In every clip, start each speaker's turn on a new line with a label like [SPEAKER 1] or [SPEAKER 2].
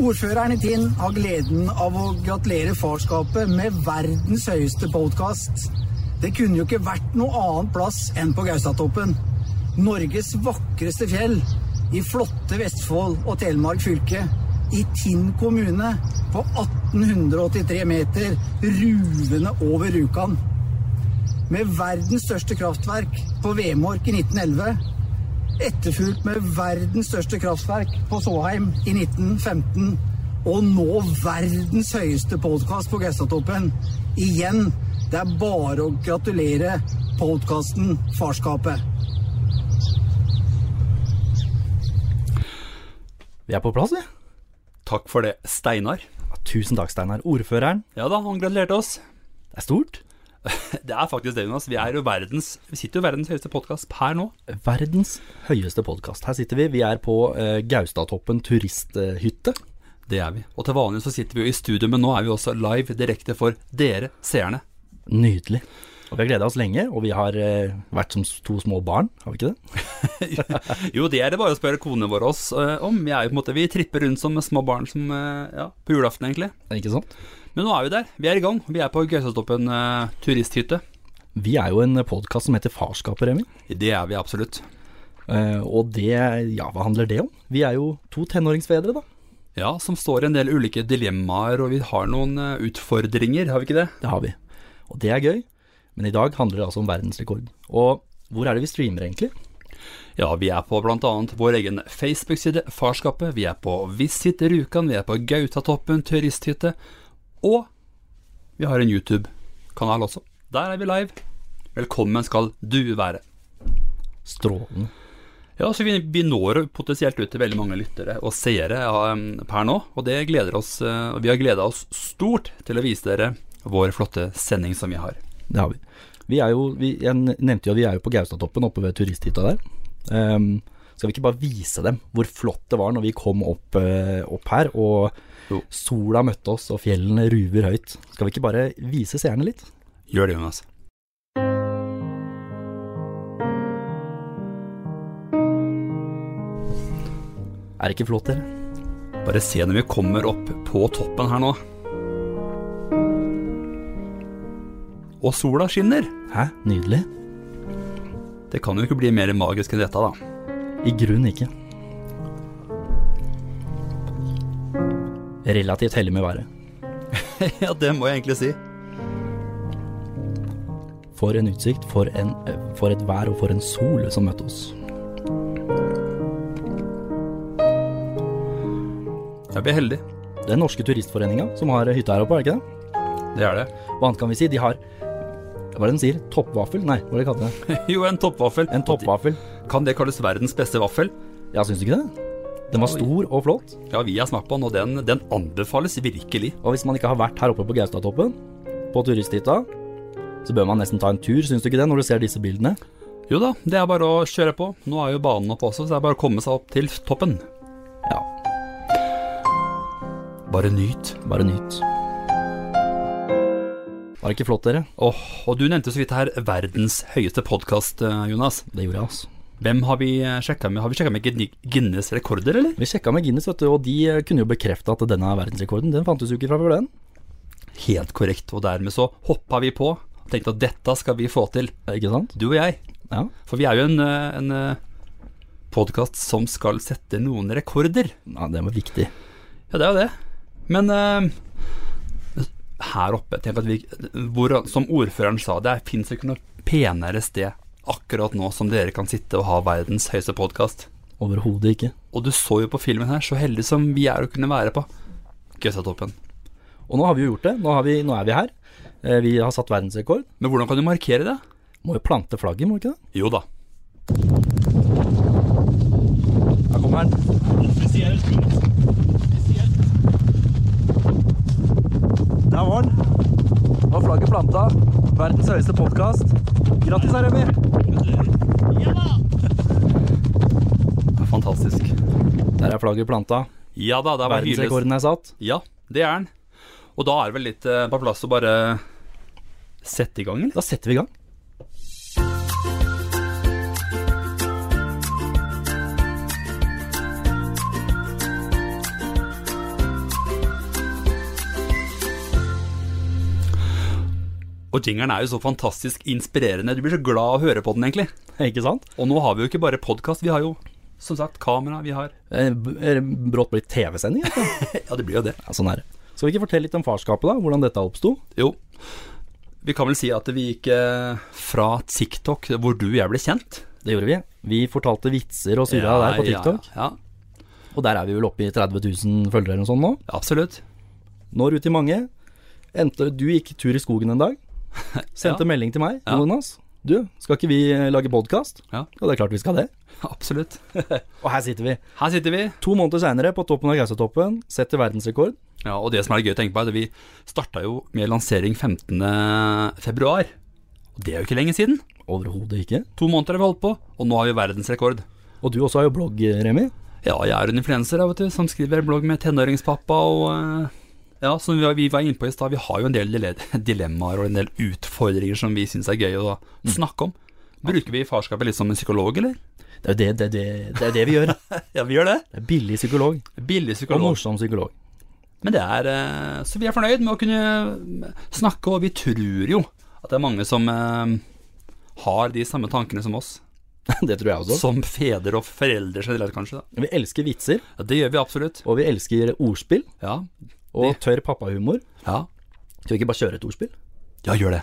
[SPEAKER 1] Ordføreren i Tinn har gleden av å gratulere farskapet med verdens høyeste podkast. Det kunne jo ikke vært noe annen plass enn på Gaustatoppen. Norges vakreste fjell i flotte Vestfold og Telemark fylke. I Tinn kommune på 1883 meter, ruvende over Rjukan. Med verdens største kraftverk på Vemork i 1911 etterfulgt med verdens største kraftverk på Såheim i 1915. Og nå verdens høyeste podkast på Gaustatoppen. Igjen, det er bare å gratulere podkasten Farskapet.
[SPEAKER 2] Vi er på plass, vi.
[SPEAKER 3] Takk for det, Steinar.
[SPEAKER 2] Tusen takk, Steinar. Ordføreren.
[SPEAKER 3] Ja da, han gratulerte oss.
[SPEAKER 2] Det er stort.
[SPEAKER 3] Det er faktisk det, Jonas. Vi er jo verdens Vi sitter jo i verdens høyeste podkast per nå.
[SPEAKER 2] Verdens høyeste podkast. Her sitter vi. Vi er på eh, Gaustatoppen turisthytte.
[SPEAKER 3] Det er vi. Og til vanlig så sitter vi jo i studio, men nå er vi også live direkte for dere seerne.
[SPEAKER 2] Nydelig. Og vi har gleda oss lenge, og vi har eh, vært som to små barn, har vi ikke det?
[SPEAKER 3] Jo, det er det bare å spørre konene våre oss eh, om. Vi er jo på en måte Vi tripper rundt som små barn som eh, Ja, på julaften, egentlig.
[SPEAKER 2] Ikke sant?
[SPEAKER 3] Men nå er vi der. Vi er i gang. Vi er på Gaustatoppen eh, turisthytte.
[SPEAKER 2] Vi er jo en podkast som heter Farskapet, Remi.
[SPEAKER 3] Det er vi absolutt.
[SPEAKER 2] Eh, og det Ja, hva handler det om? Vi er jo to tenåringsfedre, da.
[SPEAKER 3] Ja, som står i en del ulike dilemmaer, og vi har noen eh, utfordringer, har vi ikke det?
[SPEAKER 2] Det har vi. Og det er gøy. Men i dag handler det altså om verdensrekord. Og hvor er det vi streamer, egentlig?
[SPEAKER 3] Ja, vi er på bl.a. vår egen Facebook-side Farskapet, vi er på Visit Rjukan, vi er på Gautatoppen turisthytte, og vi har en YouTube-kanal også. Der er vi live. Velkommen skal du være.
[SPEAKER 2] Strålende.
[SPEAKER 3] Ja, så vi, vi når jo potensielt ut til veldig mange lyttere og seere ja, em, per nå, og det gleder oss, eh, og vi har gleda oss stort til å vise dere vår flotte sending som vi har.
[SPEAKER 2] Det har vi. Vi er jo, vi, jeg nevnte jo at vi er jo på Gaustatoppen oppe ved turisthytta der. Ehm, skal vi ikke bare vise dem hvor flott det var når vi kom opp, eh, opp her, og
[SPEAKER 3] Jo.
[SPEAKER 2] sola møtte oss og fjellene ruver høyt? Skal vi ikke bare vise seerne litt?
[SPEAKER 3] Gjør det, Jonas.
[SPEAKER 2] Er det ikke flott, dere?
[SPEAKER 3] Bare se når vi kommer opp på toppen her nå. Og sola skinner!
[SPEAKER 2] Hæ, nydelig?
[SPEAKER 3] Det kan jo ikke bli mer magisk enn dette, da.
[SPEAKER 2] I grunn ikke. Relativt heldig med været.
[SPEAKER 3] ja, det må jeg egentlig si.
[SPEAKER 2] For en utsikt, for, en, eh, for et vær og for en sol som møtte oss.
[SPEAKER 3] Ja, vi er heldige.
[SPEAKER 2] Det er Den norske turistforeninga som har hytta her oppe, er det ikke det?
[SPEAKER 3] Det er det.
[SPEAKER 2] Hva annet kan vi si? De har Hva er det de sier? Toppvaffel? Nei, hva er det de kaller det?
[SPEAKER 3] Jo, en toppvaffel.
[SPEAKER 2] En toppvaffel.
[SPEAKER 3] Kan det kalles verdens beste vaffel?
[SPEAKER 2] Ja, syns du ikke det? Den var stor og flott.
[SPEAKER 3] Ja, vi har smakt på den, og den, den anbefales virkelig.
[SPEAKER 2] Og hvis man ikke har vært her oppe på Gaustatoppen, på turisthytta, så bør man nesten ta en tur, syns du ikke det, når du ser disse bildene?
[SPEAKER 3] Jo da, det er bare å kjøre på. Nå er jo banen oppe også, så det er bare å komme seg opp til toppen.
[SPEAKER 2] Ja,
[SPEAKER 3] Bare nyt.
[SPEAKER 2] bare nyt. Var det ikke flott, dere?
[SPEAKER 3] Åh, og du nevnte så vidt her verdens høyeste podkast, Jonas.
[SPEAKER 2] Det gjorde jeg, altså.
[SPEAKER 3] Hvem har vi sjekka med? Har vi sjekka med Guin- Guinness rekorder, eller?
[SPEAKER 2] Vi sjekka med Guinness, vet du, og de eh, kunne jo bekrefte at denne verdensrekorden, den fantes jo ikke fra før den.
[SPEAKER 3] Helt korrekt, og dermed så hoppa vi på og tenkte at dette skal vi få til,
[SPEAKER 2] Eh, Ikke sant?
[SPEAKER 3] du og jeg.
[SPEAKER 2] Ja.
[SPEAKER 3] For vi er jo en, eh, en podkast som skal sette noen rekorder.
[SPEAKER 2] Nei, det var viktig.
[SPEAKER 3] Ja, det er jo det. Men eh, her oppe, tenk at vi, hvor, som ordføreren sa, det fins ikke noe penere sted akkurat nå som dere kan sitte og ha verdens høyeste podkast.
[SPEAKER 2] Overhodet ikke.
[SPEAKER 3] Og du så jo på filmen her, så heldig som vi er å kunne være på Gaustatoppen.
[SPEAKER 2] Og nå har vi jo gjort det. Nå, har vi, nå er vi her. Eh, Vi har satt verdensrekord.
[SPEAKER 3] Men hvordan kan du markere det?
[SPEAKER 2] Må jo plante flagget, må vi ikke det?
[SPEAKER 3] Jo da.
[SPEAKER 2] Her kommer den. Der var den. Nå er flagget planta. Verdens høyeste podkast. Grattis, Remi.
[SPEAKER 3] Fantastisk.
[SPEAKER 2] Der er flagget planta.
[SPEAKER 3] Ja da, det er bare hyles.
[SPEAKER 2] Verdensrekorden er satt.
[SPEAKER 3] Ja, det er den. Og da er det vel litt eh, på plass å bare sette i gang, eller?
[SPEAKER 2] Da setter vi i gang.
[SPEAKER 3] Og jingeren er jo så fantastisk inspirerende. Du blir så glad av å høre på den, egentlig.
[SPEAKER 2] Ikke sant?
[SPEAKER 3] Og nå har vi jo ikke bare podkast, vi har jo som sagt kamera, vi har
[SPEAKER 2] Eh, b- eh, Brått blitt TV-sending. dette.
[SPEAKER 3] Ja, det blir jo det.
[SPEAKER 2] Ja, sånn er det. Skal vi ikke fortelle litt om farskapet, da? Hvordan dette oppsto?
[SPEAKER 3] Jo. Vi kan vel si at vi gikk eh, fra TikTok, hvor du og jeg ble kjent.
[SPEAKER 2] Det gjorde vi. Vi fortalte vitser og surra der på TikTok.
[SPEAKER 3] Ja, ja,
[SPEAKER 2] Og der er vi vel oppe i 30 000 følgere eller noe sånt nå.
[SPEAKER 3] ja, absolutt.
[SPEAKER 2] Når ut til mange. Endte, du gikk tur i skogen en dag. Sendte melding til meg.
[SPEAKER 3] Ja.
[SPEAKER 2] Jonas, du, skal ikke vi eh, lage podkast?
[SPEAKER 3] Ja.
[SPEAKER 2] ja, det er klart vi skal det.
[SPEAKER 3] Absolutt.
[SPEAKER 2] Og her sitter vi.
[SPEAKER 3] Her sitter vi.
[SPEAKER 2] To måneder seinere, på toppen av Gaustatoppen, setter verdensrekord.
[SPEAKER 3] Ja, og det som er gøy å tenke på, er at vi starta jo med lansering 15. februar. Og det er jo ikke lenge siden.
[SPEAKER 2] Overhodet ikke.
[SPEAKER 3] To måneder har vi holdt på, og nå har vi verdensrekord.
[SPEAKER 2] Og du også har jo blogg, eh, Remi.
[SPEAKER 3] Ja, jeg er en influenser, jeg, vet du, som skriver en blogg med tenåringspappa og eh, Ja, som vi var- vi var inne på i stad, vi har jo en del dile- dilemmaer og en del utfordringer som vi syns er gøy å snakke om. Bruker vi farskapet litt som en psykolog, eller?
[SPEAKER 2] Det er jo det, det, det, det, er det vi gjør.
[SPEAKER 3] Ja, vi gjør det.
[SPEAKER 2] Det er billig psykolog.
[SPEAKER 3] Billig
[SPEAKER 2] Og
[SPEAKER 3] psykolog.
[SPEAKER 2] morsom psykolog.
[SPEAKER 3] Men det er eh, Så vi er fornøyd med å kunne snakke, og vi tror jo at det er mange som eh, har de samme tankene som oss.
[SPEAKER 2] Det tror jeg også.
[SPEAKER 3] Som fedre og foreldre generelt, kanskje. Da.
[SPEAKER 2] Vi elsker vitser,
[SPEAKER 3] Ja, det gjør vi absolutt.
[SPEAKER 2] og vi elsker ordspill.
[SPEAKER 3] Ja.
[SPEAKER 2] Og tørr pappahumor.
[SPEAKER 3] Ja,
[SPEAKER 2] Skal vi ikke bare kjøre et ordspill?
[SPEAKER 3] ja gjør det.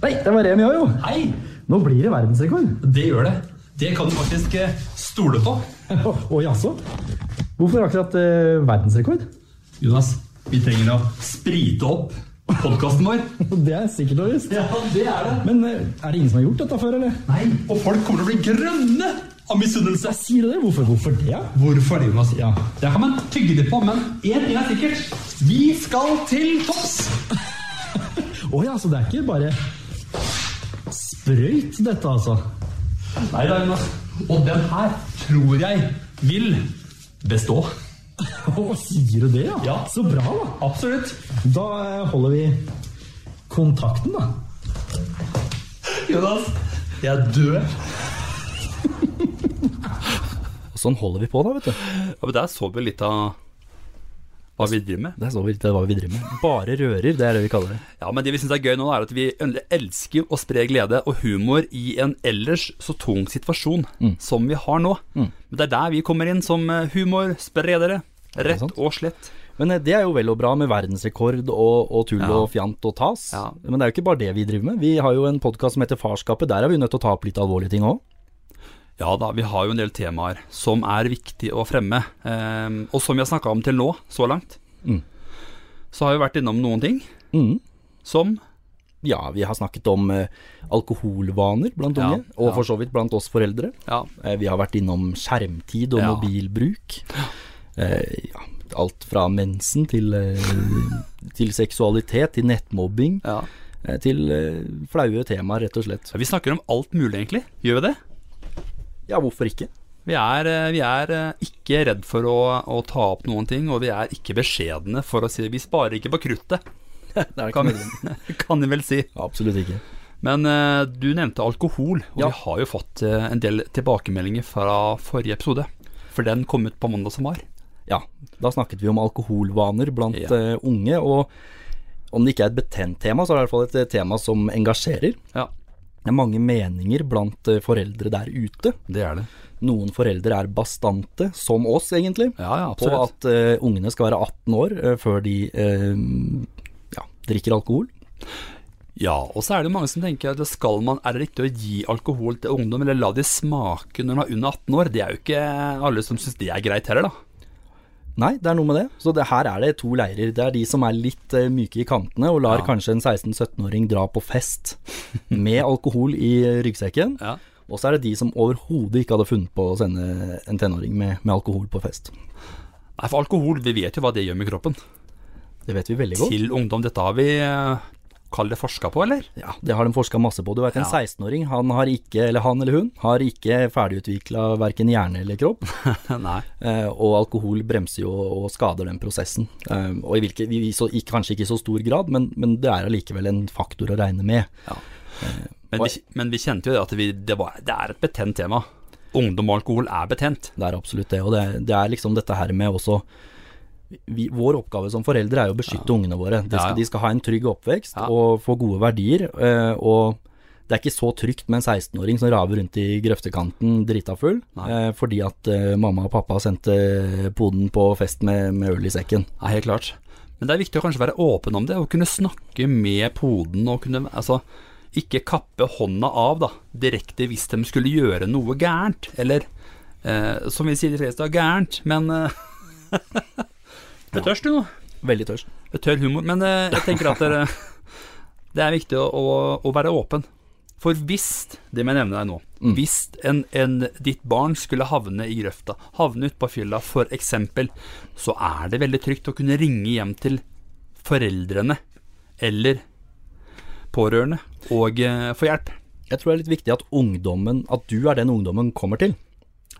[SPEAKER 2] Nei, det var Remi òg, jo.
[SPEAKER 3] Hei!
[SPEAKER 2] Nå blir det verdensrekord.
[SPEAKER 3] Det gjør det. Det kan du faktisk eh, stole på.
[SPEAKER 2] Å jaså? Hvorfor akkurat
[SPEAKER 3] eh,
[SPEAKER 2] verdensrekord?
[SPEAKER 3] Jonas, vi trenger å sprite opp podkasten vår.
[SPEAKER 2] Det er sikkert og visst.
[SPEAKER 3] Ja, det er det.
[SPEAKER 2] Men eh, er det ingen som har gjort dette før, eller?
[SPEAKER 3] Nei, og folk kommer til å bli grønne av misunnelse.
[SPEAKER 2] Sier du det? Hvorfor, det?
[SPEAKER 3] Hvorfor det, Jonas? Ja. Det kan man tygge litt på, men én ting er sikkert. Vi skal til topps!
[SPEAKER 2] Å ja, så det er ikke bare sprøyt, dette, altså?
[SPEAKER 3] Nei da, Jonas. Og den her tror jeg vil bestå.
[SPEAKER 2] Å, sier du det, ja?
[SPEAKER 3] Ja.
[SPEAKER 2] Så bra, da.
[SPEAKER 3] Absolutt.
[SPEAKER 2] Da eh, holder vi kontakten, da.
[SPEAKER 3] Jonas, jeg dør.
[SPEAKER 2] Sånn holder vi på, da, vet du.
[SPEAKER 3] Ja, men Der så vi litt av hva vi driver med.
[SPEAKER 2] Det er så vidt hva vi driver med. Bare rører, det er det vi kaller det.
[SPEAKER 3] Ja, Men det vi syns er gøy nå, er at vi elsker å spre glede og humor i en ellers så tung situasjon
[SPEAKER 2] Mm.
[SPEAKER 3] som vi har nå. Men det er der vi kommer inn som eh, humorspredere. Rett
[SPEAKER 2] sant?
[SPEAKER 3] og slett.
[SPEAKER 2] Men eh, det er jo vel og bra med verdensrekord og, og tull
[SPEAKER 3] Ja.
[SPEAKER 2] og fjant og tas.
[SPEAKER 3] Ja.
[SPEAKER 2] Men det er jo ikke bare det vi driver med. Vi har jo en podkast som heter Farskapet. Der er vi jo nødt til å ta opp litt alvorlige ting òg.
[SPEAKER 3] Ja da, vi har jo en del temaer som er viktige å fremme. eh, og som vi har snakka om til nå, så langt,
[SPEAKER 2] Mm.
[SPEAKER 3] så har vi vært innom noen ting
[SPEAKER 2] Mm.
[SPEAKER 3] som
[SPEAKER 2] Ja, vi har snakket om eh, alkoholvaner blant
[SPEAKER 3] Ja,
[SPEAKER 2] unge, og
[SPEAKER 3] ja.
[SPEAKER 2] for så vidt blant oss foreldre.
[SPEAKER 3] Ja,
[SPEAKER 2] Eh, vi har vært innom skjermtid og
[SPEAKER 3] Ja.
[SPEAKER 2] mobilbruk. Eh, ja, alt fra mensen til, eh, til seksualitet, til nettmobbing,
[SPEAKER 3] ja.
[SPEAKER 2] eh, til eh, flaue temaer, rett og slett.
[SPEAKER 3] Så vi snakker om alt mulig, egentlig. Gjør vi det?
[SPEAKER 2] Ja, hvorfor ikke?
[SPEAKER 3] Vi er, eh, vi er eh, ikke redd for å, å ta opp noen ting, og vi er ikke beskjedne for å si vi sparer ikke på kruttet,
[SPEAKER 2] Det er ikke
[SPEAKER 3] kan,
[SPEAKER 2] nødvendig.
[SPEAKER 3] kan vi vel si.
[SPEAKER 2] Absolutt ikke.
[SPEAKER 3] Men eh, du nevnte alkohol, og
[SPEAKER 2] Ja.
[SPEAKER 3] vi har jo fått eh, en del tilbakemeldinger fra forrige episode. For den kom ut på mandag som var.
[SPEAKER 2] Ja, da snakket vi om alkoholvaner blant
[SPEAKER 3] Ja.
[SPEAKER 2] eh, unge, og om det ikke er et betent tema, så er det i hvert fall et eh, tema som engasjerer.
[SPEAKER 3] Ja,
[SPEAKER 2] Det er mange meninger blant eh, foreldre der ute.
[SPEAKER 3] det er det.
[SPEAKER 2] Noen foreldre er bastante, som oss egentlig,
[SPEAKER 3] Ja, ja,
[SPEAKER 2] på at
[SPEAKER 3] absolutt.
[SPEAKER 2] eh, ungene skal være 18 år eh, før de eh, ja, drikker alkohol.
[SPEAKER 3] Ja, og så er det jo mange som tenker at skal man, er det riktig å gi alkohol til ungdom, eller la de smake når de er under 18 år? Det er jo ikke alle som syns det er greit heller, da.
[SPEAKER 2] Nei, det er noe med det. Så det, her er det to leirer. Det er de som er litt eh, myke i kantene og lar
[SPEAKER 3] Ja.
[SPEAKER 2] kanskje en 16-17-åring dra på fest med alkohol i eh, ryggsekken.
[SPEAKER 3] Ja.
[SPEAKER 2] Og så er det de som overhodet ikke hadde funnet på å sende en tenåring med, med alkohol på fest.
[SPEAKER 3] Nei, for alkohol, vi vet jo hva det gjør med kroppen.
[SPEAKER 2] Det vet vi veldig godt.
[SPEAKER 3] til ungdom. Dette har vi eh, kall det forska på, eller?
[SPEAKER 2] Ja, Det har de forska masse på. Du vet, En
[SPEAKER 3] Ja.
[SPEAKER 2] 16-åring, han, har ikke- eller han eller hun, har ikke ferdigutvikla verken hjerne eller kropp.
[SPEAKER 3] Nei.
[SPEAKER 2] Eh, og alkohol bremser jo og skader den prosessen. Eh, og i hvilke, i, så, i, Kanskje ikke i så stor grad, men, men det er allikevel en faktor å regne med.
[SPEAKER 3] Men vi, men vi kjente jo det at vi, det, var, det er et betent tema. Ungdom og alkohol er betent.
[SPEAKER 2] Det er absolutt det. Og det, det er liksom dette her med også vi, Vår oppgave som foreldre er jo å beskytte ungene våre. De
[SPEAKER 3] Ja,
[SPEAKER 2] skal,
[SPEAKER 3] ja.
[SPEAKER 2] de skal ha en trygg oppvekst
[SPEAKER 3] Ja.
[SPEAKER 2] og få gode verdier. eh, og det er ikke så trygt med en 16-åring som raver rundt i grøftekanten drita full eh, fordi at eh, mamma og pappa sendte poden på fest med, med øl i sekken.
[SPEAKER 3] Nei, helt klart. Men det er viktig å kanskje være åpen om det, og kunne snakke med poden og kunne Altså, ikke kappe hånda av, da, direkte hvis de skulle gjøre noe gærent. Eller eh, som vi sier de fleste, gærent, men eh, Det tørst, du nå.
[SPEAKER 2] Veldig tørst.
[SPEAKER 3] Det er Tørr humor. Men eh, jeg tenker at dere Det er viktig å, å, å være åpen. For hvis, det må jeg nevne deg nå, hvis en, en, ditt barn skulle havne i grøfta, havne utpå fylla f.eks., så er det veldig trygt å kunne ringe hjem til foreldrene eller pårørende og eh, få hjelp.
[SPEAKER 2] Jeg tror det er litt viktig at ungdommen, at du er den ungdommen kommer til.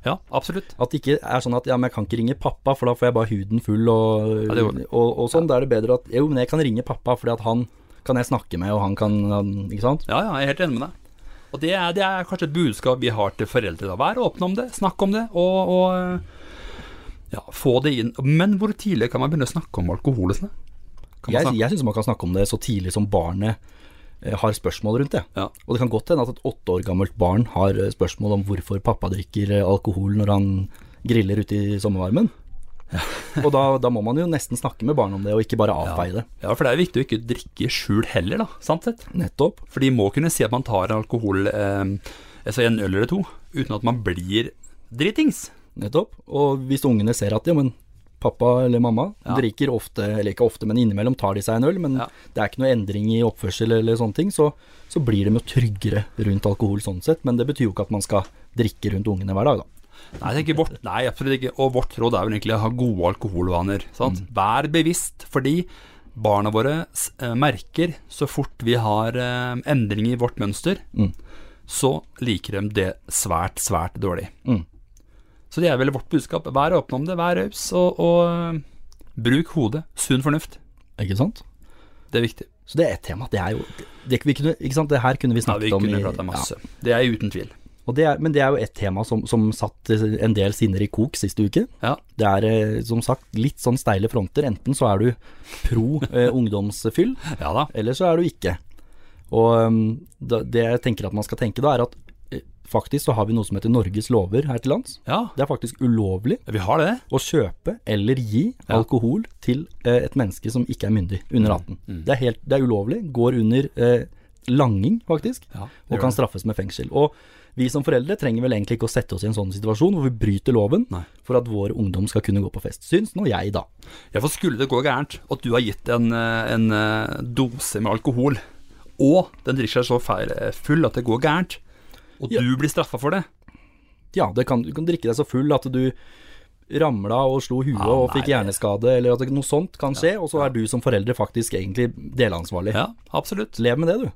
[SPEAKER 3] Ja, absolutt.
[SPEAKER 2] At det ikke er sånn at ja, men jeg kan ikke ringe pappa, for da får jeg bare huden full og,
[SPEAKER 3] Ja, det går det.
[SPEAKER 2] og, og sånn. Da er det bedre at jo, men jeg kan ringe pappa, fordi at han kan jeg snakke med, og han kan han- Ikke sant?
[SPEAKER 3] Ja, ja, jeg er helt enig med deg. Og det er, det er kanskje et budskap vi har til foreldre. da. Vær åpne om det, snakk om det, og, og eh, ja, få det inn. Men hvor tidlig kan man begynne å snakke om alkoholisme? Kan man
[SPEAKER 2] Jeg,
[SPEAKER 3] snakke?
[SPEAKER 2] jeg syns man kan snakke om det så tidlig som barnet eh, har spørsmål rundt det.
[SPEAKER 3] Ja.
[SPEAKER 2] Og det kan godt hende at et åtte år gammelt barn har eh, spørsmål om hvorfor pappa drikker eh, alkohol når han griller ute i sommervarmen. og da, da må man jo nesten snakke med barnet om det, og ikke bare avfeie det.
[SPEAKER 3] ja, for det er viktig å ikke drikke i skjul heller, da, sant sett?
[SPEAKER 2] Nettopp.
[SPEAKER 3] For de må kunne si at man tar alkohol, eh, altså en øl eller to, uten at man blir dritings.
[SPEAKER 2] Nettopp. Og hvis ungene ser at ja, men pappa eller mamma
[SPEAKER 3] Ja.
[SPEAKER 2] drikker ofte, eller ikke ofte, men innimellom tar de seg en øl, men
[SPEAKER 3] Ja.
[SPEAKER 2] det er ikke noe endring i oppførsel eller sånne ting, så, så blir de jo tryggere rundt alkohol sånn sett. Men det betyr jo ikke at man skal drikke rundt ungene hver dag, da.
[SPEAKER 3] Nei, jeg tenker vårt, nei, absolutt ikke. Og vårt råd er vel egentlig å ha gode alkoholvaner. Sant?
[SPEAKER 2] Mm.
[SPEAKER 3] Vær bevisst, fordi barna våre s- eh, merker så fort vi har eh, endring i vårt mønster,
[SPEAKER 2] Mm.
[SPEAKER 3] så liker de det svært, svært dårlig.
[SPEAKER 2] Mm.
[SPEAKER 3] Så det er vel vårt budskap. Vær åpen om det, vær raus, og, og eh, bruk hodet. Sunn fornuft.
[SPEAKER 2] Ikke sant?
[SPEAKER 3] Det er viktig.
[SPEAKER 2] Så det er ett tema. Det er jo det, vi kunne, Ikke sant, det her kunne vi
[SPEAKER 3] Ja, vi
[SPEAKER 2] snakket om
[SPEAKER 3] kunne
[SPEAKER 2] i-
[SPEAKER 3] prata
[SPEAKER 2] ja.
[SPEAKER 3] masse. Det er uten tvil.
[SPEAKER 2] Og det er, men det er jo ett tema som, som satt en del sinner i kok siste uke.
[SPEAKER 3] Ja.
[SPEAKER 2] Det er eh, som sagt litt sånn steile fronter. Enten så er du pro eh, ungdomsfyll,
[SPEAKER 3] ja da.
[SPEAKER 2] eller så er du ikke. Og um, da, det jeg tenker at man skal tenke da, er at eh, faktisk så har vi noe som heter Norges lover her til lands.
[SPEAKER 3] Ja,
[SPEAKER 2] Det er faktisk ulovlig
[SPEAKER 3] vi har det.
[SPEAKER 2] å kjøpe eller gi
[SPEAKER 3] Ja. Mm.
[SPEAKER 2] alkohol til eh, et menneske som ikke er myndig, under 18. Det, er helt, det er ulovlig, går under eh, langing faktisk,
[SPEAKER 3] Ja, det
[SPEAKER 2] og
[SPEAKER 3] gjør
[SPEAKER 2] kan
[SPEAKER 3] det.
[SPEAKER 2] straffes med fengsel. Og vi som foreldre trenger vel egentlig ikke å sette oss i en sånn situasjon hvor vi bryter loven
[SPEAKER 3] Nei.
[SPEAKER 2] for at vår ungdom skal kunne gå på fest. Syns nå jeg, da.
[SPEAKER 3] Ja, for skulle det gå gærent at du har gitt en, eh, en eh, dose med alkohol, og den drikker seg så feil, eh, full at det går gærent, og
[SPEAKER 2] Ja.
[SPEAKER 3] du blir straffa for det
[SPEAKER 2] Ja, det kan, du kan drikke deg så full at du ramla og slo huet
[SPEAKER 3] Ah,
[SPEAKER 2] og fikk
[SPEAKER 3] nei.
[SPEAKER 2] hjerneskade, eller at det- noe sånt kan skje, og så er du som forelder faktisk egentlig delansvarlig.
[SPEAKER 3] Ja, absolutt.
[SPEAKER 2] Lev med det, du.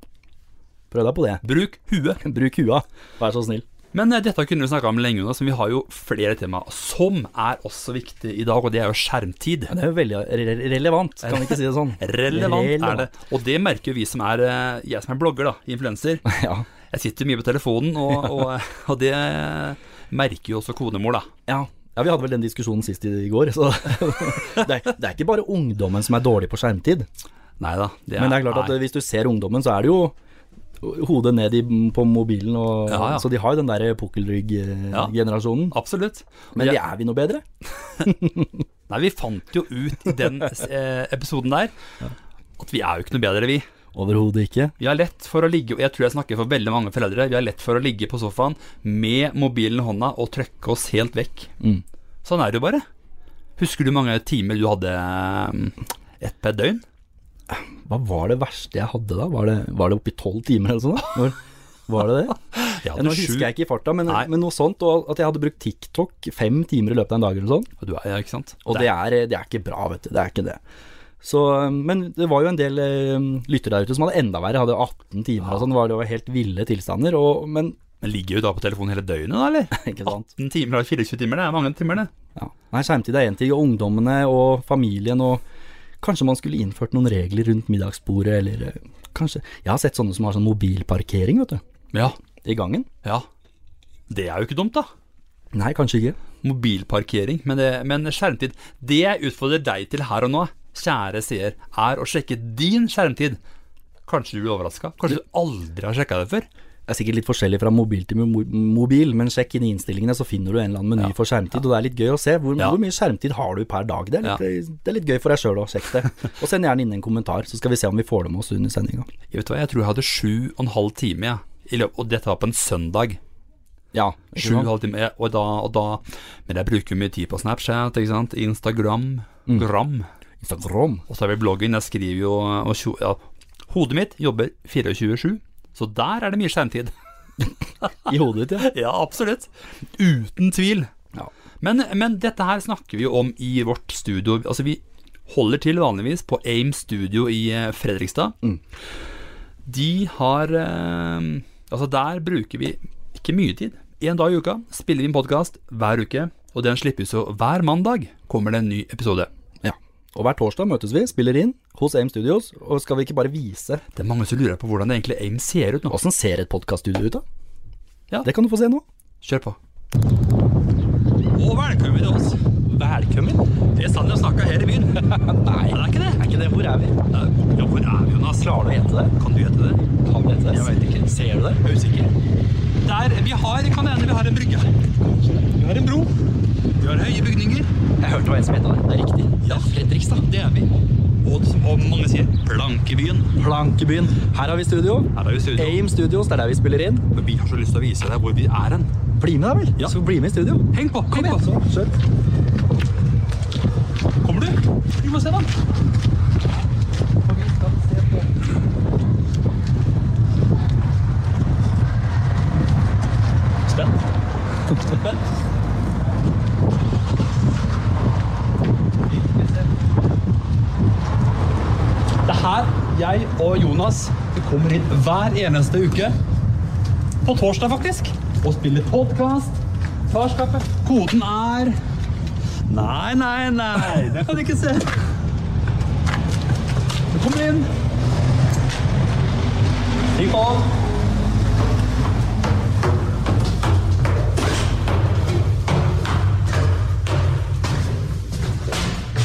[SPEAKER 2] Prøv deg på det.
[SPEAKER 3] Bruk huet.
[SPEAKER 2] Bruk hua, vær så snill.
[SPEAKER 3] Men eh, dette kunne vi snakka om lenge, Jonas, men vi har jo flere tema som er også viktige i dag, og det er jo skjermtid.
[SPEAKER 2] Det er jo veldig re re- relevant, kan vi ikke si det sånn?
[SPEAKER 3] Relevant, er det. Og det merker jo vi som er eh, Jeg som er blogger, da. Influenser.
[SPEAKER 2] Ja.
[SPEAKER 3] Jeg sitter mye på telefonen, og, og, eh, og det merker jo også konemor, da.
[SPEAKER 2] ja. Ja, Vi hadde vel den diskusjonen sist i, i går, så det, er, det er ikke bare ungdommen som er dårlig på skjermtid.
[SPEAKER 3] Nei da. Det
[SPEAKER 2] Men det er klart at
[SPEAKER 3] nei.
[SPEAKER 2] hvis du ser ungdommen, så er det jo hodet ned i, på mobilen. Og,
[SPEAKER 3] Ja, ja.
[SPEAKER 2] Så de har jo den der
[SPEAKER 3] Ja.
[SPEAKER 2] pukkelrygg-generasjonen.
[SPEAKER 3] Absolutt.
[SPEAKER 2] Men
[SPEAKER 3] Jeg-
[SPEAKER 2] er vi noe bedre?
[SPEAKER 3] Nei, vi fant jo ut i den eh, episoden der at vi er jo ikke noe bedre, vi.
[SPEAKER 2] Overhodet ikke.
[SPEAKER 3] Vi har lett for å ligge, og jeg tror jeg snakker for veldig mange foreldre, vi har lett for å ligge på sofaen med mobilen i hånda og trøkke oss helt vekk.
[SPEAKER 2] Mm.
[SPEAKER 3] Sånn er det jo bare. Husker du mange timer du hadde eh, ett per døgn?
[SPEAKER 2] Hva var det verste jeg hadde da? Var det, var det oppi tolv timer eller sånn? da? Når, var det det?
[SPEAKER 3] Jeg
[SPEAKER 2] Nå
[SPEAKER 3] hadde sju.
[SPEAKER 2] husker jeg ikke i farta, men,
[SPEAKER 3] Nei.
[SPEAKER 2] men noe sånt. Og at jeg hadde brukt TikTok fem timer i løpet av en dag eller sånn.
[SPEAKER 3] Og Du er, ja, ikke sant?
[SPEAKER 2] Og det er, det er ikke bra, vet du. Det er ikke det. Så, men det var jo en del eh, lyttere der ute som hadde enda verre. Hadde 18 timer og sånn. Det var- Det var helt ville tilstander. Og, men
[SPEAKER 3] Men ligger jo da på telefonen hele døgnet, da, eller?
[SPEAKER 2] ikke sant.
[SPEAKER 3] 18 timer av 24 timer, det er mange timer, det.
[SPEAKER 2] Ja. Nei, skjermtid er én ting, og ungdommene og familien og Kanskje man skulle innført noen regler rundt middagsbordet, eller eh, kanskje Jeg har sett sånne som har sånn mobilparkering, vet du.
[SPEAKER 3] Ja.
[SPEAKER 2] I gangen.
[SPEAKER 3] Ja. Det er jo ikke dumt, da.
[SPEAKER 2] Nei, kanskje ikke.
[SPEAKER 3] mobilparkering, men, det, men skjermtid Det jeg utfordrer deg til her og nå, kjære seer, er å sjekke din skjermtid. Kanskje du blir overraska. Kanskje du aldri har sjekka det før.
[SPEAKER 2] Det er sikkert litt forskjellig fra mobil til mo- mobil, men sjekk inn i innstillingene, så finner du en eller annen meny for skjermtid. Og det er litt gøy å se. Hvor,
[SPEAKER 3] Ja.
[SPEAKER 2] hvor mye skjermtid har du per dag? Det er litt, det er litt gøy for deg sjøl å sjekke det. Og send gjerne inn en kommentar, så skal vi se om vi får det med oss under sendinga.
[SPEAKER 3] Jeg vet hva, jeg tror jeg hadde sju og en halv time, jeg. I løpet, og dette var på en søndag.
[SPEAKER 2] Ja, ikke
[SPEAKER 3] Sju og en
[SPEAKER 2] sant?
[SPEAKER 3] halv time, jeg- og da, og da Men jeg bruker jo mye tid på Snapchat, ikke sant? Instagram. Gram.
[SPEAKER 2] Instagram.
[SPEAKER 3] Og så har vi bloggen. Jeg skriver jo og, tjo- ja, Hodet mitt jobber 24-7, så der er det mye skjermtid.
[SPEAKER 2] I hodet ditt, ja.
[SPEAKER 3] Ja, absolutt. Uten tvil.
[SPEAKER 2] Ja.
[SPEAKER 3] Men, men dette her snakker vi jo om i vårt studio. Altså, vi holder til vanligvis på AIM Studio i eh, Fredrikstad. De har eh, Altså, der bruker vi ikke mye tid. Én dag i uka spiller vi en podkast hver uke, og den slippes jo hver mandag. Kommer det en ny episode.
[SPEAKER 2] ja. Og hver torsdag møtes vi, spiller inn hos AIM Studios. Og skal vi ikke bare vise
[SPEAKER 3] Det er mange som lurer på hvordan det egentlig AIM ser ut nå.
[SPEAKER 2] åssen ser et podkaststudio ut, da?
[SPEAKER 3] Ja.
[SPEAKER 2] Det kan du få se nå.
[SPEAKER 3] Kjør på. Og velkommen til oss. Velkommen? Det er sant jeg snakka her i byen. Nei. Det er ikke det. Er ikke det. Hvor er vi? Ja, hvor er vi, Jonas? Klarer du å gjette det? Kan du gjette det? Kan du gjette det? Jeg vet ikke. Ser du det? Jeg er usikker. Der, vi har, kan det hende vi har en brygge. Vi har en bro. Vi har høye bygninger.
[SPEAKER 4] Jeg hørte det var en som heta det. Det er riktig.
[SPEAKER 3] Ja.
[SPEAKER 4] Fredrikstad.
[SPEAKER 3] Det er vi. Og som og mange sier, plankebyen.
[SPEAKER 4] Plankebyen. Her har vi studio.
[SPEAKER 3] Her er vi i studio.
[SPEAKER 4] AIM Studios, det er der vi spiller inn.
[SPEAKER 3] Men vi har så lyst til å vise deg hvor vi er hen.
[SPEAKER 4] Bli med, da vel.
[SPEAKER 3] Ja.
[SPEAKER 4] Så bli med i studio.
[SPEAKER 3] Heng på, heng på. Kommer du? Vi må se den. Spent. Spent. Det er her jeg og Jonas kommer inn hver eneste uke. På torsdag, faktisk. Og spiller podkast. Farskapet. Koden er Nei, nei, nei, det kan du ikke se. Du kommer inn. Stig på.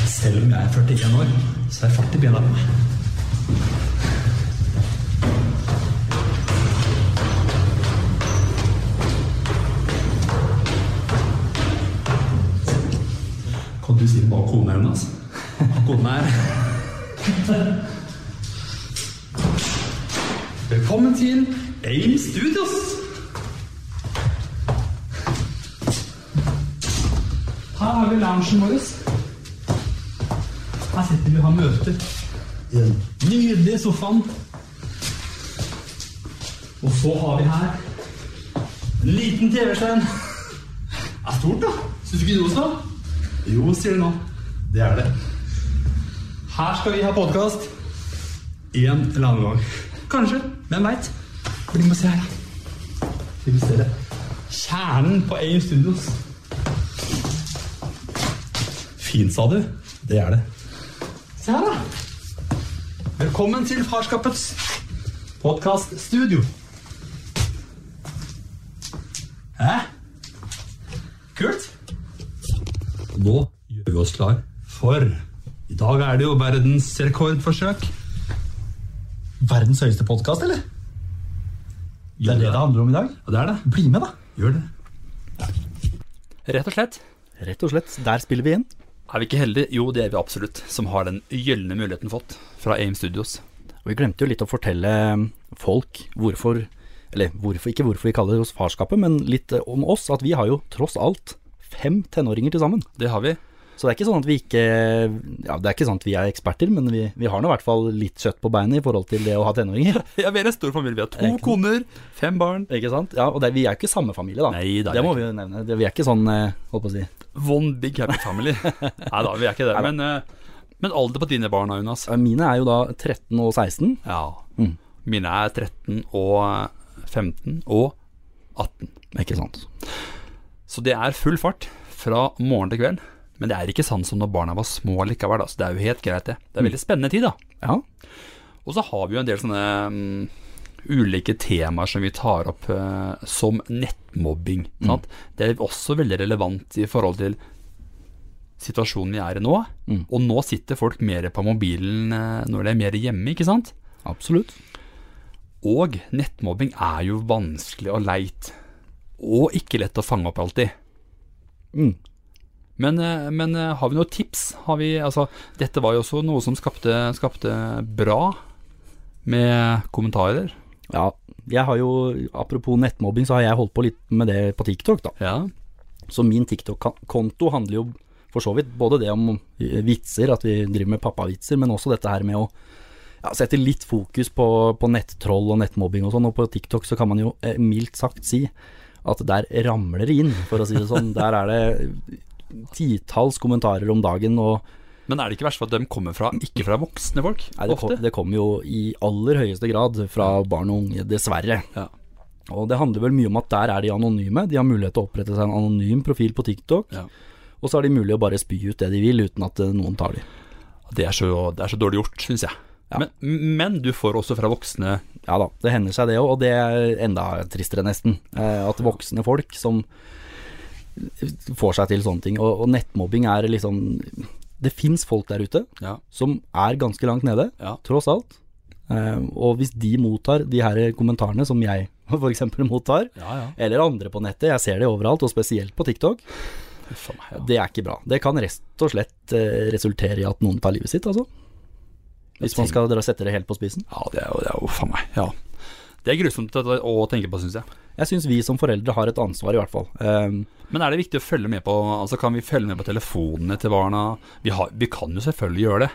[SPEAKER 3] Selv om jeg er 41 år, så er fart i bena på meg. Kan du si hva koden er, Jonas? Koden er Velkommen til AIM Studios! Her har vi loungen vår. Her sitter vi og har møter. I den nydelige sofaen. Og så har vi her en liten TV-skjerm. Det er stort, da. Syns du ikke det også? Jo, sier du nå. Det er det. Her skal vi ha podkast. En eller annen gang. Kanskje. Hvem veit? Bli med og se her, da. Bli med og se det. Kjernen på AIM Studios. Fint, sa du. Det er det. Se her, da. Velkommen til Farskapets podkaststudio. Hæ? Kult. Nå gjør vi oss klar, for i dag er det jo verdensrekordforsøk.
[SPEAKER 4] Verdens høyeste podkast, eller? Det er det det handler om i dag.
[SPEAKER 3] Ja, det er det.
[SPEAKER 4] Bli med, da.
[SPEAKER 3] Gjør det. Rett og slett.
[SPEAKER 2] Rett og slett. Der spiller vi inn.
[SPEAKER 3] Er vi ikke heldige? Jo, det er vi absolutt, som har den gylne muligheten fått fra AIM Studios.
[SPEAKER 2] Og vi glemte jo litt å fortelle eh, folk hvorfor Eller hvorfor, ikke hvorfor vi kaller oss farskapet, men litt eh, om oss. At vi har jo tross alt fem tenåringer til sammen.
[SPEAKER 3] Det har vi.
[SPEAKER 2] Så det er ikke sånn at vi ikke Ja, det er ikke sånn at vi er eksperter, men vi, vi har nå i hvert fall litt kjøtt på beinet i forhold til det å ha tenåringer.
[SPEAKER 3] Ja, vi er en stor familie. Vi har
[SPEAKER 2] er
[SPEAKER 3] to
[SPEAKER 2] ikke-
[SPEAKER 3] koner, fem barn.
[SPEAKER 2] Ikke sant? Ja, Og det, vi er jo ikke samme familie, da.
[SPEAKER 3] Nei, det er
[SPEAKER 2] det må vi jo nevne. Det, vi er ikke sånn, eh, holdt på å si
[SPEAKER 3] One big happy family. Nei da, vi er ikke det. Men, eh, men alder på dine barn, da, Jonas?
[SPEAKER 2] Ja, Mine er jo da 13 og 16.
[SPEAKER 3] Ja.
[SPEAKER 2] Mm.
[SPEAKER 3] Mine er 13 og 15 og 18.
[SPEAKER 2] Ikke sant.
[SPEAKER 3] Så det er full fart fra morgen til kveld. Men det er ikke sånn som når barna var små likevel. Altså, det er jo helt greit, det. Det er veldig spennende tid, da.
[SPEAKER 2] Ja.
[SPEAKER 3] Og så har vi jo en del sånne mm, ulike temaer som vi tar opp, eh, som nettmobbing. Sant? Det er også veldig relevant i forhold til situasjonen vi er i nå. Og nå sitter folk mer på mobilen eh, når de er mer hjemme, ikke sant?
[SPEAKER 2] Absolutt.
[SPEAKER 3] Og nettmobbing er jo vanskelig og leit. Og ikke lett å fange opp alltid.
[SPEAKER 2] Mm.
[SPEAKER 3] Men, eh, men eh, har vi noen tips? Har vi, altså, dette var jo også noe som skapte, skapte bra med kommentarer.
[SPEAKER 2] Ja, jeg har jo, apropos nettmobbing, så har jeg holdt på litt med det på TikTok, da.
[SPEAKER 3] Ja.
[SPEAKER 2] Så min TikTok-konto handler jo for så vidt både det om eh, vitser, at vi driver med pappavitser, men også dette her med å ja, sette litt fokus på, på nettroll og nettmobbing og sånn. Og på TikTok så kan man jo eh, mildt sagt si at der ramler det inn, for å si det sånn. Der er det titalls kommentarer om dagen, og
[SPEAKER 3] Men er det ikke verst for at de kommer fra, ikke fra voksne folk?
[SPEAKER 2] nei, det, kom,
[SPEAKER 3] ofte?
[SPEAKER 2] det kommer jo i aller høyeste grad fra barn og unge, dessverre.
[SPEAKER 3] Ja.
[SPEAKER 2] Og det handler vel mye om at der er de anonyme. De har mulighet til å opprette seg en anonym profil på TikTok.
[SPEAKER 3] Ja.
[SPEAKER 2] Og så er det mulig å bare spy ut det de vil, uten at eh, noen tar de.
[SPEAKER 3] Det, er så, det er så dårlig gjort, syns jeg. Men, men du får også fra voksne
[SPEAKER 2] Ja da, det hender seg det òg, og det er enda tristere, nesten. Eh, at voksne folk som får seg til sånne ting. Og, og nettmobbing er liksom Det fins folk der ute
[SPEAKER 3] Ja.
[SPEAKER 2] som er ganske langt nede,
[SPEAKER 3] Ja.
[SPEAKER 2] tross alt. Eh, og hvis de mottar de her kommentarene som jeg f.eks. mottar,
[SPEAKER 3] Ja, ja.
[SPEAKER 2] eller andre på nettet, jeg ser det overalt, og spesielt på TikTok,
[SPEAKER 3] Uff a meg. Ja.
[SPEAKER 2] det er ikke bra. Det kan rett og slett eh, resultere i at noen tar livet sitt, altså. Hvis man skal dra- sette det helt på spissen.
[SPEAKER 3] Ja, det er jo det er jo- Uff a meg. Ja. Det er grusomt å å tenke på, syns jeg.
[SPEAKER 2] Jeg syns vi som foreldre har et ansvar, i hvert fall. Eh,
[SPEAKER 3] Men er det viktig å følge med på Altså Kan vi følge med på telefonene til barna? Vi, har, vi kan jo selvfølgelig gjøre det.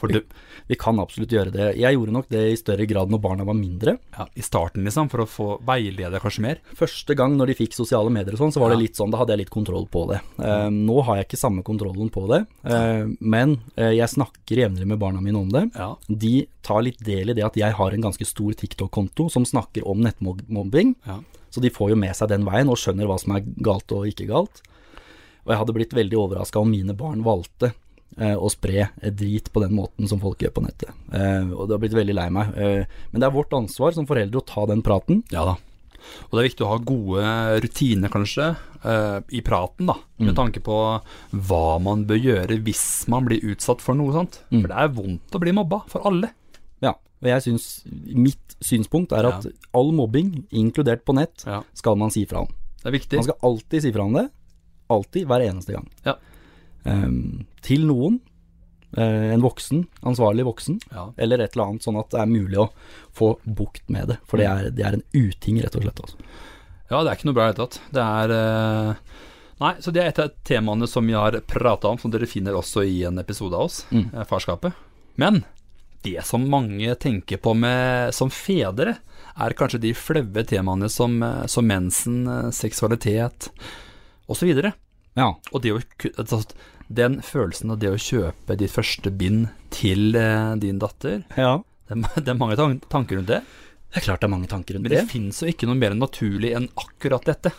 [SPEAKER 3] For det
[SPEAKER 2] Vi kan absolutt gjøre det. Jeg gjorde nok det i større grad når barna var mindre.
[SPEAKER 3] ja, I starten, liksom, for å få veilede kanskje mer.
[SPEAKER 2] Første gang når de fikk sosiale medier og sånn, så var det
[SPEAKER 3] Ja.
[SPEAKER 2] litt sånn, da hadde jeg litt kontroll på det. Eh, nå har jeg ikke samme kontrollen på det, eh, men eh, jeg snakker jevnlig med barna mine om det.
[SPEAKER 3] Ja.
[SPEAKER 2] De tar litt del i det at jeg har en ganske stor TikTok-konto som snakker om nettmobbing,
[SPEAKER 3] Ja.
[SPEAKER 2] så de får jo med seg den veien og skjønner hva som er galt og ikke galt. Og jeg hadde blitt veldig overraska om mine barn valgte eh, å spre drit på den måten som folk gjør på nettet. Eh, og det har blitt veldig lei meg. Eh, men det er vårt ansvar som foreldre å ta den praten.
[SPEAKER 3] ja da. Og det er viktig å ha gode rutiner, kanskje, eh, i praten, da. Med tanke på hva man bør gjøre hvis man blir utsatt for noe sånt. For det er vondt å bli mobba, for alle.
[SPEAKER 2] Ja, og jeg synes, Mitt synspunkt er at
[SPEAKER 3] Ja.
[SPEAKER 2] all mobbing, inkludert på nett,
[SPEAKER 3] Ja.
[SPEAKER 2] skal man si fra om.
[SPEAKER 3] Det er viktig.
[SPEAKER 2] Man skal alltid si fra om det. Alltid, hver eneste gang.
[SPEAKER 3] Ja.
[SPEAKER 2] Ehm, til noen, eh, en voksen, ansvarlig voksen,
[SPEAKER 3] Ja.
[SPEAKER 2] eller et eller annet, sånn at det er mulig å få bukt med det. For det er, det er en uting, rett og slett. Altså.
[SPEAKER 3] Ja, det er ikke noe bra i det hele tatt. Det er eh, Nei, så det er et av temaene som vi har prata om, som dere finner også i en episode av oss, eh, Farskapet. Men det som mange tenker på med, som fedre, er kanskje de flaue temaene som, eh, som mensen, eh, seksualitet osv. Og
[SPEAKER 2] Ja,
[SPEAKER 3] det å, ku- altså, den følelsen av det å kjøpe ditt første bind til eh, din datter,
[SPEAKER 2] ja.
[SPEAKER 3] det er, ma- det er mange tan- tanker rundt det.
[SPEAKER 2] Det er klart det er mange tanker rundt
[SPEAKER 3] Men det
[SPEAKER 2] det.
[SPEAKER 3] fins jo ikke noe mer naturlig enn akkurat dette.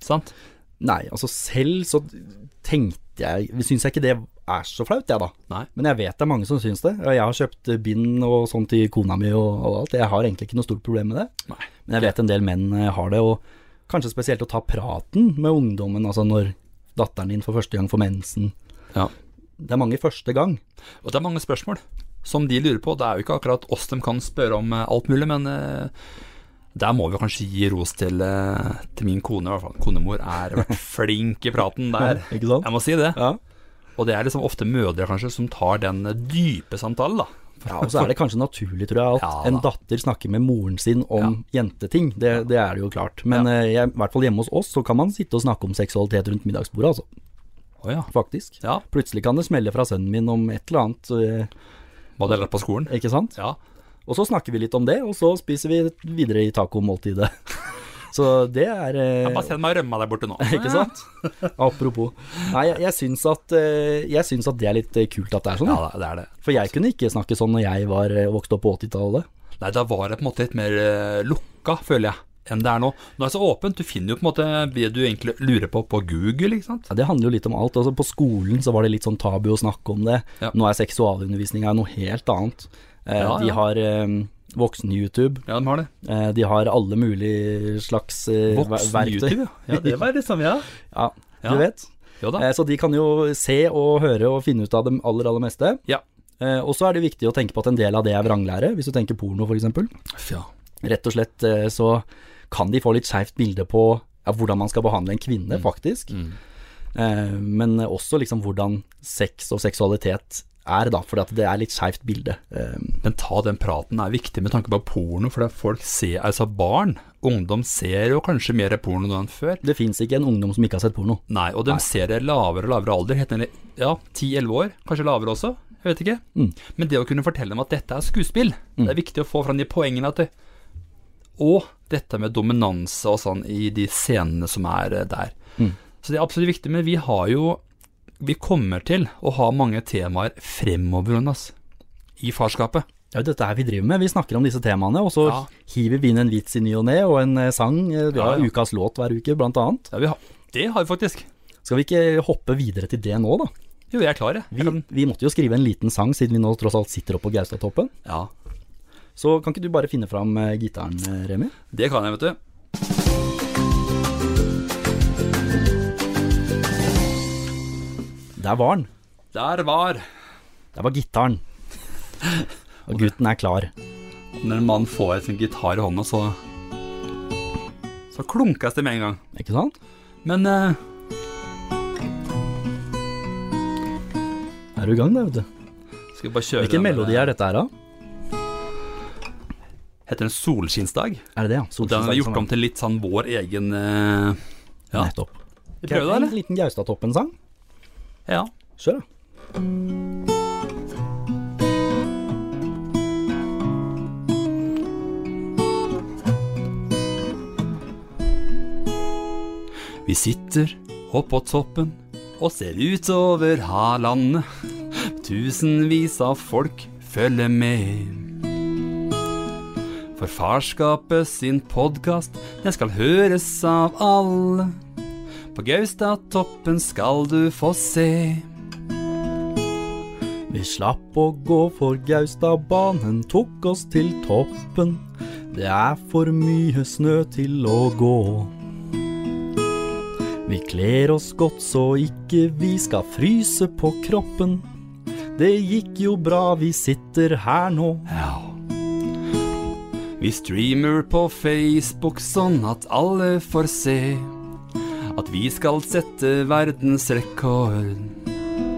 [SPEAKER 3] Sant?
[SPEAKER 2] Nei, altså selv så tenkte jeg Syns jeg ikke det er så flaut, jeg, da.
[SPEAKER 3] Nei.
[SPEAKER 2] Men jeg vet det er mange som syns det. Og jeg har kjøpt eh, bind og sånt til kona mi og, og alt. Jeg har egentlig ikke noe stort problem med det.
[SPEAKER 3] Nei.
[SPEAKER 2] Men jeg vet en del menn eh, har det, og kanskje spesielt å ta praten med ungdommen, altså når datteren din for første gang får mensen.
[SPEAKER 3] Ja.
[SPEAKER 2] Det er mange første gang.
[SPEAKER 3] Og det er mange spørsmål som de lurer på. Det er jo ikke akkurat oss de kan spørre om eh, alt mulig, men eh, der må vi kanskje gi ros til, eh, til min kone, i hvert fall. Konemor er vært flink i praten der.
[SPEAKER 2] Ikke sant?
[SPEAKER 3] Jeg må si det.
[SPEAKER 2] Ja.
[SPEAKER 3] Og det er liksom ofte mødre kanskje som tar den eh, dype samtalen, da.
[SPEAKER 2] ja, og så er det kanskje naturlig, tror jeg, at
[SPEAKER 3] Ja, da.
[SPEAKER 2] en datter snakker med moren sin om jenteting. Det, det er det jo klart. Men eh, jeg, i hvert fall hjemme hos oss så kan man sitte og snakke om seksualitet rundt middagsbordet, altså.
[SPEAKER 3] Å ja.
[SPEAKER 2] Faktisk.
[SPEAKER 3] Ja,
[SPEAKER 2] Plutselig kan det smelle fra sønnen min om et eller annet,
[SPEAKER 3] hva det er på skolen.
[SPEAKER 2] eh, ikke sant?
[SPEAKER 3] Ja.
[SPEAKER 2] Og så snakker vi litt om det, og så spiser vi videre i tacomåltidet. Så det er eh,
[SPEAKER 3] Bare send meg rømma der borte nå.
[SPEAKER 2] Ikke sant? Apropos. Nei, jeg, jeg, syns at, eh, jeg syns at det er litt eh, kult at det er sånn.
[SPEAKER 3] Ja,
[SPEAKER 2] da.
[SPEAKER 3] da, det er det.
[SPEAKER 2] For jeg kunne ikke snakke sånn når jeg var eh, vokst opp på 80-tallet.
[SPEAKER 3] Nei, da var det på en måte litt mer eh, lukka, føler jeg, enn det er nå. Nå er det så åpent. Du finner jo på en måte det du egentlig lurer på på Google, ikke sant.
[SPEAKER 2] Ja, det handler jo litt om alt. Altså, på skolen så var det litt sånn tabu å snakke om det.
[SPEAKER 3] Ja.
[SPEAKER 2] Nå er seksualundervisninga noe helt annet. Eh,
[SPEAKER 3] Ja, ja.
[SPEAKER 2] De har eh, Voksen-YouTube.
[SPEAKER 3] Ja, de har det.
[SPEAKER 2] Eh, de har alle mulige slags eh, ver- verktøy.
[SPEAKER 3] Voksen-YouTube, ja. ja. Det var liksom, ja.
[SPEAKER 2] Ja,
[SPEAKER 3] Ja.
[SPEAKER 2] du vet.
[SPEAKER 3] Ja da.
[SPEAKER 2] Eh, så de kan jo se og høre og finne ut av det aller, aller meste.
[SPEAKER 3] Ja.
[SPEAKER 2] Eh, og så er det viktig å tenke på at en del av det er vranglære, hvis du tenker porno f.eks.
[SPEAKER 3] ja.
[SPEAKER 2] Rett og slett eh, så kan de få litt skeivt bilde på ja, hvordan man skal behandle en
[SPEAKER 3] Mm.
[SPEAKER 2] kvinne, faktisk. Eh, men også liksom hvordan sex og seksualitet er, da, for det er litt skeivt bilde. Eh,
[SPEAKER 3] Men ta den praten er viktig med tanke på porno, for det er folk ser, altså barn, ungdom ser jo kanskje mer porno nå enn før.
[SPEAKER 2] det fins ikke en ungdom som ikke har sett porno.
[SPEAKER 3] Nei, og de ser det lavere og lavere alder, helt ned i ja, 10-11 år, kanskje lavere også, jeg vet ikke. Men det å kunne fortelle dem at dette er skuespill, det er viktig å få fram de poengene at det, og dette med dominanse og sånn i de scenene som er eh, der. Så det er absolutt viktig, men vi har jo, vi kommer til å ha mange temaer fremover, Jonas, i farskapet.
[SPEAKER 2] Det er jo dette her vi driver med. Vi snakker om disse temaene, og så
[SPEAKER 3] Ja.
[SPEAKER 2] hiver vi inn en vits i ny og ne, og en eh, sang. eh, Vi har
[SPEAKER 3] Ja, ja.
[SPEAKER 2] ukas låt hver uke, blant annet.
[SPEAKER 3] Ja, vi har, det har vi faktisk.
[SPEAKER 2] Skal vi ikke hoppe videre til det nå, da?
[SPEAKER 3] Jo, jeg er klar, jeg.
[SPEAKER 2] Vi, vi måtte jo skrive en liten sang, siden vi nå tross alt sitter oppe på Gaustatoppen.
[SPEAKER 3] Ja,
[SPEAKER 2] Så kan ikke du bare finne fram eh, gitaren, eh, Remi?
[SPEAKER 3] det kan jeg, vet du.
[SPEAKER 2] Der var den.
[SPEAKER 3] Der var
[SPEAKER 2] Der var gitaren. Og gutten er klar.
[SPEAKER 3] Når en mann får sin gitar i hånda, så Så klunkes det med en gang.
[SPEAKER 2] Ikke sant?
[SPEAKER 3] Men eh,
[SPEAKER 2] Er du i gang, da, vet du.
[SPEAKER 3] skal vi bare kjøre
[SPEAKER 2] Hvilken
[SPEAKER 3] den der-
[SPEAKER 2] melodi er dette her, da?
[SPEAKER 3] Heter den 'Solskinnsdag'?
[SPEAKER 2] Er det det, ja?
[SPEAKER 3] Den har vi gjort om
[SPEAKER 2] Solskinnsdag,
[SPEAKER 3] til litt sånn vår egen eh,
[SPEAKER 2] sånn.
[SPEAKER 3] ja.
[SPEAKER 2] Nettopp.
[SPEAKER 3] Vi prøver det, eller?
[SPEAKER 2] En liten Gaustatoppen-sang.
[SPEAKER 3] Ja.
[SPEAKER 2] Kjør, da.
[SPEAKER 3] Vi sitter oppå toppen og ser utover halandet. Tusenvis av folk følger med. For farskapet sin podkast, den skal høres av alle. På Gaustatoppen skal du få se.
[SPEAKER 2] Vi slapp å gå for Gaustadbanen, tok oss til toppen. Det er for mye snø til å gå. Vi kler oss godt så ikke vi skal fryse på kroppen. Det gikk jo bra, vi sitter her nå.
[SPEAKER 3] Ja. Vi streamer på Facebook sånn at alle får se at vi skal sette verdensrekord.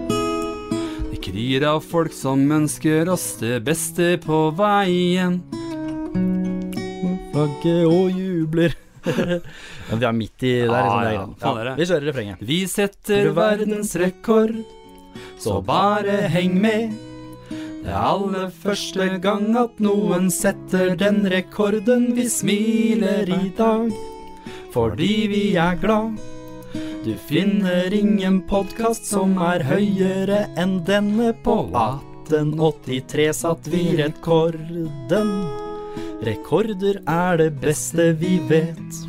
[SPEAKER 3] Det kryr av folk som ønsker oss det beste på veien.
[SPEAKER 2] Flagget og jubler. Men vi er midt i der,
[SPEAKER 3] Ja,
[SPEAKER 2] liksom. det er
[SPEAKER 3] ja,
[SPEAKER 2] greit.
[SPEAKER 3] faen dere.
[SPEAKER 2] vi kjører refrenget.
[SPEAKER 3] Vi setter verdensrekord, så bare heng med. Det er aller første gang at noen setter den rekorden. Vi smiler i
[SPEAKER 2] dag fordi vi er glad. Du finner ingen podkast som er høyere enn denne. På 1883 satt vi rekorden. Rekorder er det beste vi vet.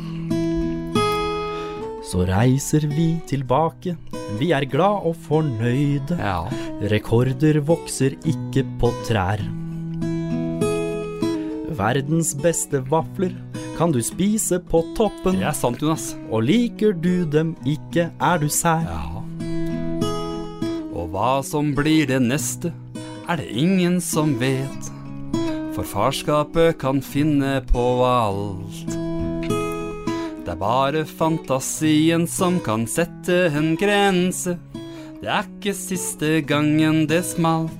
[SPEAKER 2] Så reiser vi tilbake. Vi er glad og fornøyde.
[SPEAKER 3] Ja.
[SPEAKER 2] Rekorder vokser ikke på trær. Verdens beste vafler kan du spise på toppen.
[SPEAKER 3] Det er sant, Jonas.
[SPEAKER 2] Og liker du dem ikke, er du sær.
[SPEAKER 3] Ja. Og hva som blir det neste, er det ingen som vet. For farskapet kan finne på alt. Det er bare fantasien som kan sette en grense. Det er ikke siste gangen det smalt.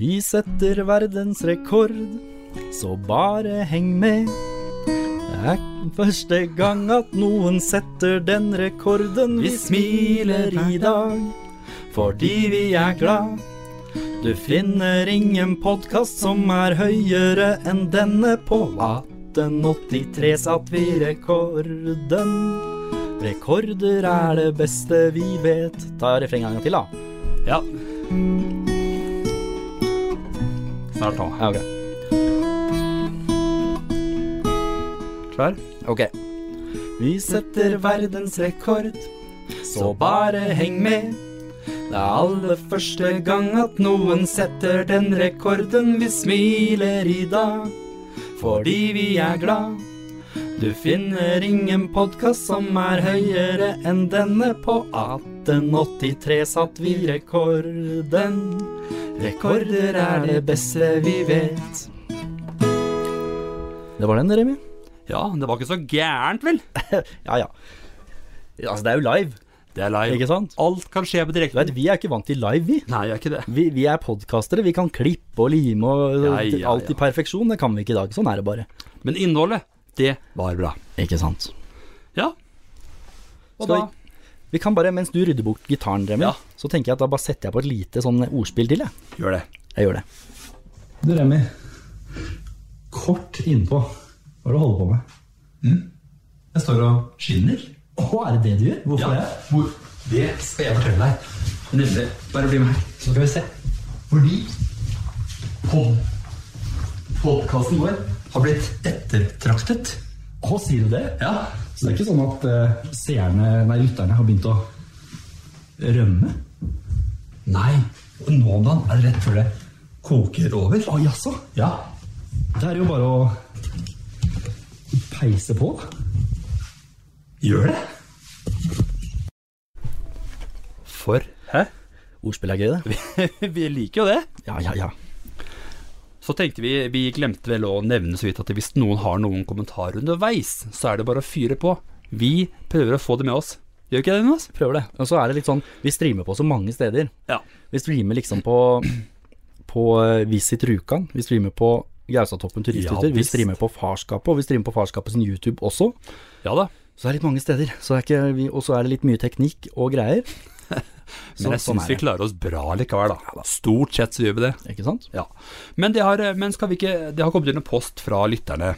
[SPEAKER 2] Vi setter verdensrekord, så bare heng med. Det er første gang at noen setter den rekorden. Vi smiler i dag fordi vi er glad. Du finner ingen podkast som er høyere enn denne. På 1883 satt vi rekorden. Rekorder er det beste vi vet. Ta refrenget en gang til, da.
[SPEAKER 3] Ja. Snart nå.
[SPEAKER 2] Ja, ok.
[SPEAKER 3] Klar?
[SPEAKER 2] Ok. Vi setter verdensrekord, så bare heng med. Det er aller første gang at noen setter den rekorden. Vi smiler i dag fordi vi er glad. Du finner ingen podkast som er høyere enn denne. På 1883 satt vi rekorden. Rekorder er det beste vi vet. Det var den, Remi.
[SPEAKER 3] Ja, det var ikke så gærent, vel?
[SPEAKER 2] Ja, ja. Altså, det er jo live,
[SPEAKER 3] Det er live.
[SPEAKER 2] ikke sant?
[SPEAKER 3] Alt kan skje på
[SPEAKER 2] Du vet,
[SPEAKER 3] direkten.
[SPEAKER 2] vi er ikke vant til live, vi.
[SPEAKER 3] Nei, jeg er ikke det.
[SPEAKER 2] Vi, vi er podkastere. Vi kan klippe og lime og
[SPEAKER 3] Ja, ja,
[SPEAKER 2] alt i
[SPEAKER 3] ja.
[SPEAKER 2] perfeksjon. Det kan vi ikke i dag. Sånn er det bare.
[SPEAKER 3] Men innholdet, det var bra.
[SPEAKER 2] Ikke sant.
[SPEAKER 3] Ja.
[SPEAKER 2] Skal
[SPEAKER 3] Og da
[SPEAKER 2] vi- Vi kan bare, Mens du rydder bort gitaren, Remi,
[SPEAKER 3] Ja.
[SPEAKER 2] så tenker jeg at da bare setter jeg på et lite sånn ordspill til. Jeg,
[SPEAKER 3] gjør det.
[SPEAKER 2] jeg gjør det.
[SPEAKER 4] Du, Remi. Kort innpå. Hva er det du holder på med?
[SPEAKER 5] Mm. Jeg står og skinner.
[SPEAKER 4] Å, er det det du gjør? Hvorfor det?
[SPEAKER 5] Hvor, det skal jeg fortelle deg. Nemlig. Bare bli med her.
[SPEAKER 4] Så skal vi se.
[SPEAKER 5] Fordi pod podkasten vår har blitt ettertraktet.
[SPEAKER 4] Å, sier du det?
[SPEAKER 5] Ja.
[SPEAKER 4] Så det er ikke sånn at eh, seerne, nei, lytterne har begynt å rømme?
[SPEAKER 5] Nei. Og nå om dagen er det rett før det koker over.
[SPEAKER 4] Å, jaså?
[SPEAKER 5] Ja.
[SPEAKER 4] Det er jo bare å peise på.
[SPEAKER 5] Gjør det.
[SPEAKER 3] For Hæ?
[SPEAKER 2] Ordspill er gøy, det.
[SPEAKER 3] vi liker jo det.
[SPEAKER 2] Ja, ja, ja.
[SPEAKER 3] Så tenkte vi, vi glemte vel å nevne så vidt at hvis noen har noen kommentar underveis, så er det bare å fyre på. Vi prøver å få det med oss. Gjør vi ikke det, Jonas?
[SPEAKER 2] Prøver det. Og så er det litt sånn Vi streamer på så mange steder.
[SPEAKER 3] Ja.
[SPEAKER 2] Vi streamer liksom på På eh, Visit Rjukan. Vi streamer på Gaustatoppen
[SPEAKER 3] Ja,
[SPEAKER 2] turisthytter. vi
[SPEAKER 3] visst.
[SPEAKER 2] streamer på Farskapet, og vi streamer på Farskapets YouTube også.
[SPEAKER 3] Ja da.
[SPEAKER 2] Så det er litt mange steder. Så det er ikke, vi- og så er det litt mye teknikk og greier. sånn
[SPEAKER 3] Men jeg syns vi klarer oss bra likevel, da. Stort sett så gjør vi det.
[SPEAKER 2] Ikke sant?
[SPEAKER 3] Ja. Men det har, men skal vi ikke, det har kommet inn en post fra lytterne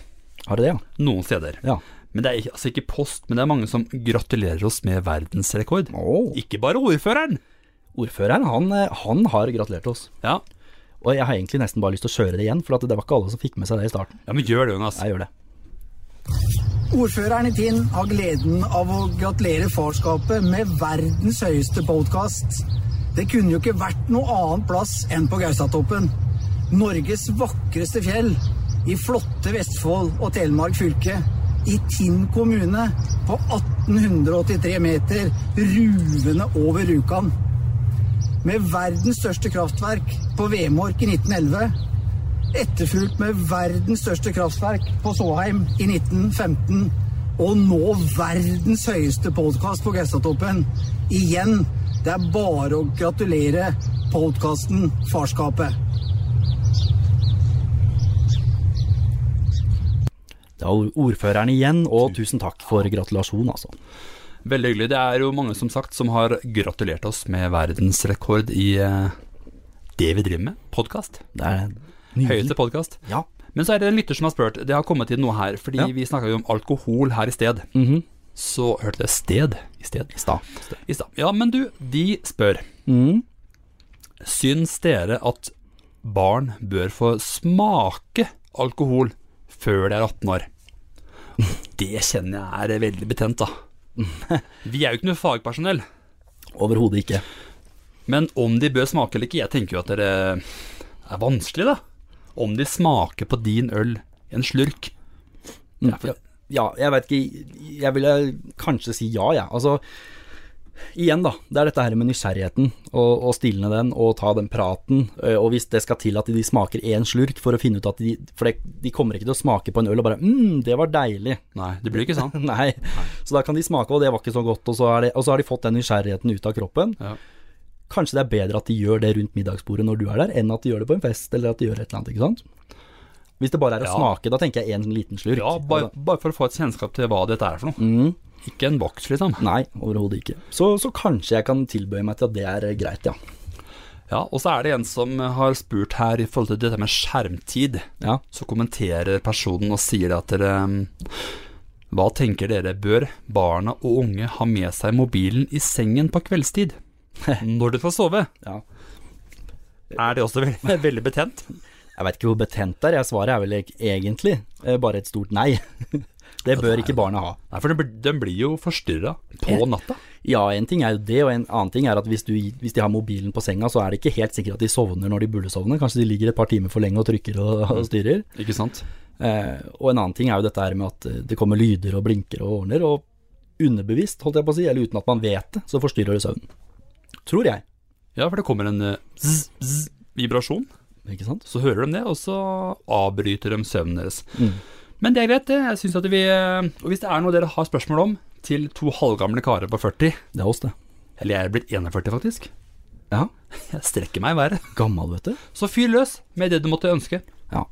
[SPEAKER 2] Har det det, ja?
[SPEAKER 3] noen steder.
[SPEAKER 2] Ja.
[SPEAKER 3] Men det er ikke- altså ikke post, men det er mange som gratulerer oss med verdensrekord.
[SPEAKER 2] Åh.
[SPEAKER 3] Ikke bare ordføreren!
[SPEAKER 2] Ordføreren, han, eh, han har gratulert oss.
[SPEAKER 3] Ja.
[SPEAKER 2] Og jeg har egentlig nesten bare lyst til å kjøre det igjen, for at det var ikke alle som fikk med seg det i starten.
[SPEAKER 3] ja, men gjør det, Jonas.
[SPEAKER 2] Jeg gjør det.
[SPEAKER 1] Ordføreren i Tinn har gleden av å gratulere farskapet med verdens høyeste podkast. Det kunne jo ikke vært noe annen plass enn på Gaustatoppen. Norges vakreste fjell, i flotte Vestfold og Telemark fylke. I Tinn kommune, på 1883 meter, ruvende over Rjukan. Med verdens største kraftverk på Vemork i 1911 etterfulgt med verdens største kraftverk på Såheim i 1915. Og nå verdens høyeste podkast på Gaustatoppen. Igjen, det er bare å gratulere podkasten Farskapet.
[SPEAKER 2] Det var ordføreren igjen, og tusen takk for gratulasjon, altså.
[SPEAKER 3] Veldig hyggelig. Det er jo mange, som sagt, som har gratulert oss med verdensrekord i eh, det vi driver med. Podkast.
[SPEAKER 2] Det er
[SPEAKER 3] Høyeste podkast.
[SPEAKER 2] Ja.
[SPEAKER 3] Men så er det en lytter som har spurt. Det har kommet inn noe her, fordi
[SPEAKER 2] Ja.
[SPEAKER 3] vi snakka jo om alkohol her i sted.
[SPEAKER 2] Mhm.
[SPEAKER 3] Så hørte jeg sted i sted.
[SPEAKER 2] I stad.
[SPEAKER 3] I stad. Ja, men du, de spør.
[SPEAKER 2] Mhm.
[SPEAKER 3] Syns dere at barn bør få smake alkohol før de er 18 år? Det kjenner jeg er veldig betent, da. Vi er jo ikke noe fagpersonell.
[SPEAKER 2] Overhodet ikke.
[SPEAKER 3] Men om de bør smake eller ikke, jeg tenker jo at det er vanskelig, da. Om de smaker på din øl i en slurk. Ja,
[SPEAKER 2] Mm.
[SPEAKER 3] for,
[SPEAKER 2] Ja, jeg veit ikke. Jeg ville kanskje si ja, jeg. Altså, igjen, da. Det er dette her med nysgjerrigheten. Og, og stilne den, og ta den praten. eh, Og hvis det skal til at de smaker én slurk for å finne ut at de For det, de kommer ikke til å smake på en øl og bare mm, det var deilig.
[SPEAKER 3] nei, det blir ikke sånn.
[SPEAKER 2] Nei. Så da kan de smake, og det var ikke så godt. Og så, er det, og så har de fått den nysgjerrigheten ut av kroppen.
[SPEAKER 3] Ja.
[SPEAKER 2] Kanskje det er bedre at de gjør det rundt middagsbordet når du er der, enn at de gjør det på en fest eller at de gjør et eller annet, ikke sant? Hvis det bare er å
[SPEAKER 3] Ja.
[SPEAKER 2] smake, da tenker jeg en sånn liten slurk. Altså,
[SPEAKER 3] Ja, bare, bare for å få et kjennskap til hva dette er for noe.
[SPEAKER 2] Mhm.
[SPEAKER 3] Ikke en boks, liksom.
[SPEAKER 2] Nei, overhodet ikke. Så, så kanskje jeg kan tilbøye meg til at det er eh, greit, ja.
[SPEAKER 3] Ja, og så er det en som har spurt her i forhold til dette med skjermtid.
[SPEAKER 2] Ja,
[SPEAKER 3] Så kommenterer personen og sier at dere um, Hva tenker dere, bør barna og unge ha med seg mobilen i sengen på kveldstid? Når du skal sove?
[SPEAKER 2] ja.
[SPEAKER 3] Er det også veldig, veldig betent?
[SPEAKER 2] Jeg veit ikke hvor betent det er, jeg svaret er vel ek- egentlig eh, bare et stort nei. Det bør ikke barna ha.
[SPEAKER 3] Nei, for den, blir- den blir jo forstyrra på
[SPEAKER 2] Eh.
[SPEAKER 3] natta.
[SPEAKER 2] Ja, en ting er jo det, og en annen ting er at hvis, du, hvis de har mobilen på senga, så er det ikke helt sikkert at de sovner når de burde sovne. Kanskje de ligger et par timer for lenge og trykker og, og styrer.
[SPEAKER 3] Ikke sant?
[SPEAKER 2] Eh, og en annen ting er jo dette her med at eh, det kommer lyder og blinker og ordner, og underbevisst, holdt jeg på å si, eller uten at man vet det, så forstyrrer det søvnen. Tror jeg,
[SPEAKER 3] Ja, for det kommer en eh, zzz, zzz, vibrasjon.
[SPEAKER 2] ikke sant?
[SPEAKER 3] Så hører de det, og så avbryter de søvnen deres.
[SPEAKER 2] Mm.
[SPEAKER 3] Men det er greit, det. Jeg synes at vi eh, Og hvis det er noe dere har spørsmål om til to halvgamle karer på 40
[SPEAKER 2] Det er oss, det.
[SPEAKER 3] Eller jeg er blitt 41, faktisk.
[SPEAKER 2] Ja.
[SPEAKER 3] Jeg strekker meg i været.
[SPEAKER 2] Gammel, vet du.
[SPEAKER 3] Så fyr løs med det du måtte ønske.
[SPEAKER 2] Ja.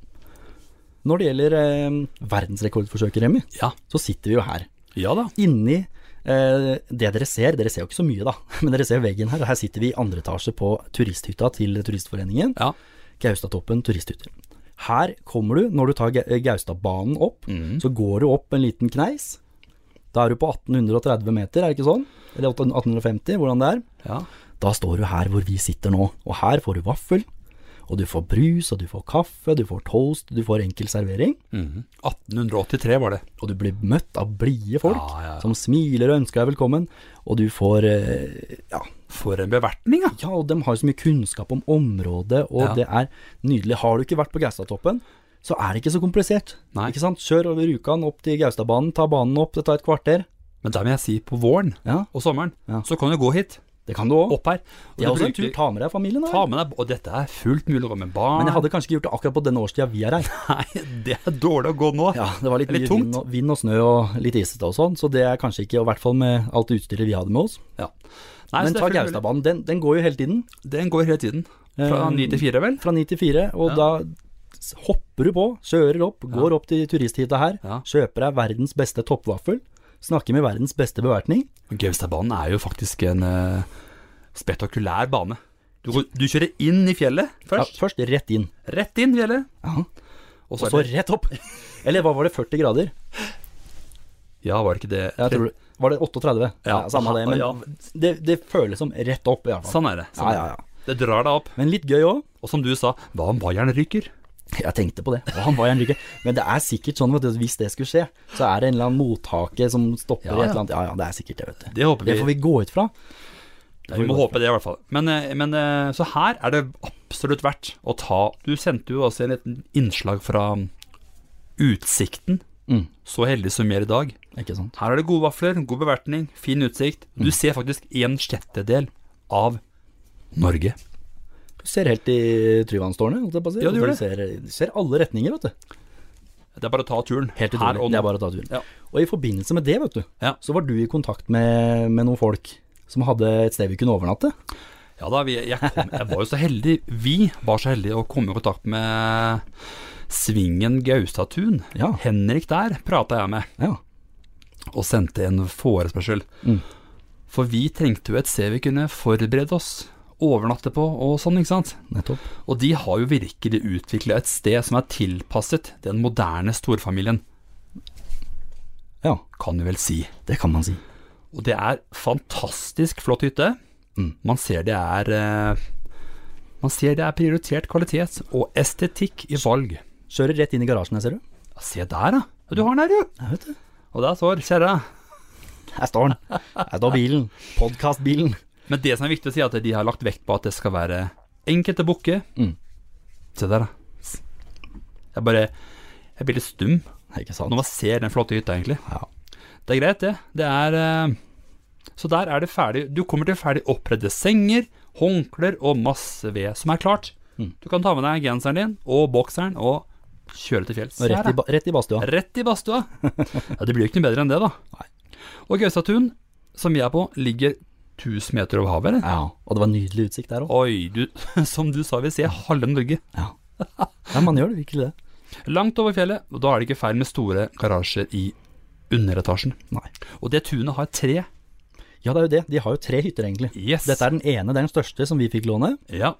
[SPEAKER 2] Når det gjelder eh, verdensrekordforsøket, Remi,
[SPEAKER 3] Ja.
[SPEAKER 2] så sitter vi jo her.
[SPEAKER 3] Ja da.
[SPEAKER 2] Inni eh, det dere ser, dere ser jo ikke så mye da, men dere ser veggen her, og her sitter vi i andre etasje på turisthytta til Turistforeningen.
[SPEAKER 3] Ja.
[SPEAKER 2] Gaustatoppen turisthytter. Her kommer du, når du tar Ga- Gaustadbanen opp, så går du opp en liten kneis. Da er du på 1830 meter, er det ikke sånn? Eller 1850, hvordan det er.
[SPEAKER 3] ja.
[SPEAKER 2] Da står du her hvor vi sitter nå, og her får du vaffel, og du får brus, og du får kaffe, du får toast, du får enkel servering.
[SPEAKER 3] 1883 var det.
[SPEAKER 2] Og du blir møtt av blide folk
[SPEAKER 3] Ja, ja, ja.
[SPEAKER 2] som smiler og ønsker deg velkommen. Og du får eh, ja,
[SPEAKER 3] For en bevertning, ja.
[SPEAKER 2] ja, og de har så mye kunnskap om området, og
[SPEAKER 3] Ja.
[SPEAKER 2] det er nydelig. Har du ikke vært på Gaustatoppen, så er det ikke så komplisert.
[SPEAKER 3] Nei.
[SPEAKER 2] Ikke sant? Kjør over Rjukan, opp til Gaustadbanen, ta banen opp, det tar et kvarter.
[SPEAKER 3] Men der må jeg si, på våren
[SPEAKER 2] Ja,
[SPEAKER 3] og sommeren,
[SPEAKER 2] Ja.
[SPEAKER 3] så kan du gå hit.
[SPEAKER 2] Det kan du òg.
[SPEAKER 3] Opp her. Og
[SPEAKER 2] Det er
[SPEAKER 3] du
[SPEAKER 2] også en
[SPEAKER 3] bruker-
[SPEAKER 2] tur. Ta med deg familien. Da.
[SPEAKER 3] Ta med deg Og dette er fullt mulig å gå med barn.
[SPEAKER 2] Men jeg hadde kanskje ikke gjort det akkurat på denne årstida vi er her.
[SPEAKER 3] Nei, det er dårlig å gå nå.
[SPEAKER 2] Ja, Det var litt,
[SPEAKER 3] Eller
[SPEAKER 2] mye
[SPEAKER 3] tungt.
[SPEAKER 2] vind og, vind og snø og litt isete og sånn, så det er kanskje ikke, og i hvert fall med alt det utstyret vi hadde med oss.
[SPEAKER 3] Ja. Nei, så
[SPEAKER 2] Men
[SPEAKER 3] det er
[SPEAKER 2] ta
[SPEAKER 3] fullt mulig.
[SPEAKER 2] Gaustadbanen, den, den går jo hele tiden.
[SPEAKER 3] Den går hele tiden. Fra
[SPEAKER 2] Eh,
[SPEAKER 3] ni til fire, vel?
[SPEAKER 2] fra 9 til 4, og da s- hopper du på, kjører opp, går opp til turisthytta her,
[SPEAKER 3] Ja.
[SPEAKER 2] kjøper deg verdens beste toppvaffel, snakker med verdens beste bevertning.
[SPEAKER 3] Gaustadbanen er jo faktisk en eh, spektakulær bane. Du, går- du kjører inn i fjellet
[SPEAKER 2] Ja,
[SPEAKER 3] først.
[SPEAKER 2] først rett inn,
[SPEAKER 3] Rett inn i fjellet.
[SPEAKER 2] Ja.
[SPEAKER 3] Og
[SPEAKER 2] og
[SPEAKER 3] så,
[SPEAKER 2] så
[SPEAKER 3] er det,
[SPEAKER 2] rett opp. Eller hva var det, 40 grader?
[SPEAKER 3] Ja, var det ikke det?
[SPEAKER 2] Jeg tror, det- var det 38?
[SPEAKER 3] Ja.
[SPEAKER 2] samme det,
[SPEAKER 3] Ja.
[SPEAKER 2] men det, det føles som rett opp i hvert fall.
[SPEAKER 3] Sånn er det.
[SPEAKER 2] Ja,
[SPEAKER 3] Sånn. er
[SPEAKER 2] ja,
[SPEAKER 3] det.
[SPEAKER 2] ja.
[SPEAKER 3] Det drar deg opp.
[SPEAKER 2] Men litt gøy også.
[SPEAKER 3] Og som du sa, hva om vaieren ryker?
[SPEAKER 2] Jeg tenkte på det, og han var gjerne ikke. Men det er sikkert sånn, vet du, at hvis det skulle skje, så er det en eller annen mottake som stopper
[SPEAKER 3] Ja,
[SPEAKER 2] i et
[SPEAKER 3] ja.
[SPEAKER 2] eller annet. Ja, ja, det er sikkert det, vet du.
[SPEAKER 3] Det håper vi.
[SPEAKER 2] Det får vi gå ut fra.
[SPEAKER 3] Ja, vi må håpe det, i hvert fall. Men, eh, men eh, så her er det absolutt verdt å ta Du sendte jo også en liten innslag fra um, Utsikten.
[SPEAKER 2] Mm.
[SPEAKER 3] Så heldig som vi er i dag.
[SPEAKER 2] Ikke sant?
[SPEAKER 3] Her er det gode vafler, god bevertning, fin utsikt.
[SPEAKER 2] Mm.
[SPEAKER 3] Du ser faktisk en sjettedel av Norge.
[SPEAKER 2] Du ser helt i Tryvannstårnet, holdt jeg på å si.
[SPEAKER 3] Ja, du gjør
[SPEAKER 2] Og Ser, du ser alle retninger, vet du.
[SPEAKER 3] Det er bare å ta turen.
[SPEAKER 2] Helt
[SPEAKER 3] Her
[SPEAKER 2] utrolig.
[SPEAKER 3] og nå.
[SPEAKER 2] Det er bare å ta turen.
[SPEAKER 3] Ja.
[SPEAKER 2] Og i forbindelse med det, vet du,
[SPEAKER 3] Ja.
[SPEAKER 2] så var du i kontakt med, med noen folk som hadde et sted vi kunne overnatte.
[SPEAKER 3] Ja da, vi, jeg, kom, jeg var jo så heldig. Vi var så heldige å komme i kontakt med Svingen Gaustatun.
[SPEAKER 2] Ja.
[SPEAKER 3] Henrik der prata jeg med.
[SPEAKER 2] Ja.
[SPEAKER 3] og sendte en forespørsel.
[SPEAKER 2] Mm.
[SPEAKER 3] For vi trengte jo et sted vi kunne forberede oss, overnatte på og sånn, ikke sant.
[SPEAKER 2] Nettopp.
[SPEAKER 3] Og de har jo virkelig utvikla et sted som er tilpasset den moderne storfamilien,
[SPEAKER 2] Ja,
[SPEAKER 3] kan du vel si.
[SPEAKER 2] det kan man si.
[SPEAKER 3] Og det er fantastisk flott hytte. Man ser det er eh, Man ser det er prioritert kvalitet og estetikk i valg.
[SPEAKER 2] Kjører rett inn i garasjen her, ser du.
[SPEAKER 3] Ja, Se der, da. Ja, Du har den her, jo.
[SPEAKER 2] Jeg vet det.
[SPEAKER 3] Og der står kjerra.
[SPEAKER 2] Her står den. Her står bilen. Podkastbilen.
[SPEAKER 3] Men det som er viktig å si, er at de har lagt vekt på at det skal være enkelt å booke.
[SPEAKER 2] Mm.
[SPEAKER 3] Se der, da. Jeg bare Jeg blir litt stum
[SPEAKER 2] Ikke sant.
[SPEAKER 3] når man ser den flotte hytta, egentlig.
[SPEAKER 2] Ja.
[SPEAKER 3] Det er greit, det. Det er eh, Så der er det ferdig Du kommer til ferdig oppredde senger, håndklær og masse ved som er klart.
[SPEAKER 2] Mm.
[SPEAKER 3] Du kan ta med deg genseren din og bokseren og kjøre til fjells.
[SPEAKER 2] Og
[SPEAKER 3] Se her,
[SPEAKER 2] Rett i,
[SPEAKER 3] da.
[SPEAKER 2] ba- rett i badstua.
[SPEAKER 3] Rett i badstua. Ja, det blir jo ikke noe bedre enn det, da. Og Gaustatun, som vi er på, ligger 1000 meter over havet, eller?
[SPEAKER 2] Ja, og det var nydelig utsikt der òg.
[SPEAKER 3] Oi, du, som du sa, vi ser halve Norge.
[SPEAKER 2] Ja. ja, man gjør det virkelig det.
[SPEAKER 3] Langt over fjellet, og da er det ikke feil med store garasjer i underetasjen.
[SPEAKER 2] Nei.
[SPEAKER 3] Og det tunet har tre.
[SPEAKER 2] Ja, det er jo det. De har jo tre hytter, egentlig.
[SPEAKER 3] Yes.
[SPEAKER 2] Dette er den ene, det er den største, som vi fikk låne.
[SPEAKER 3] Ja.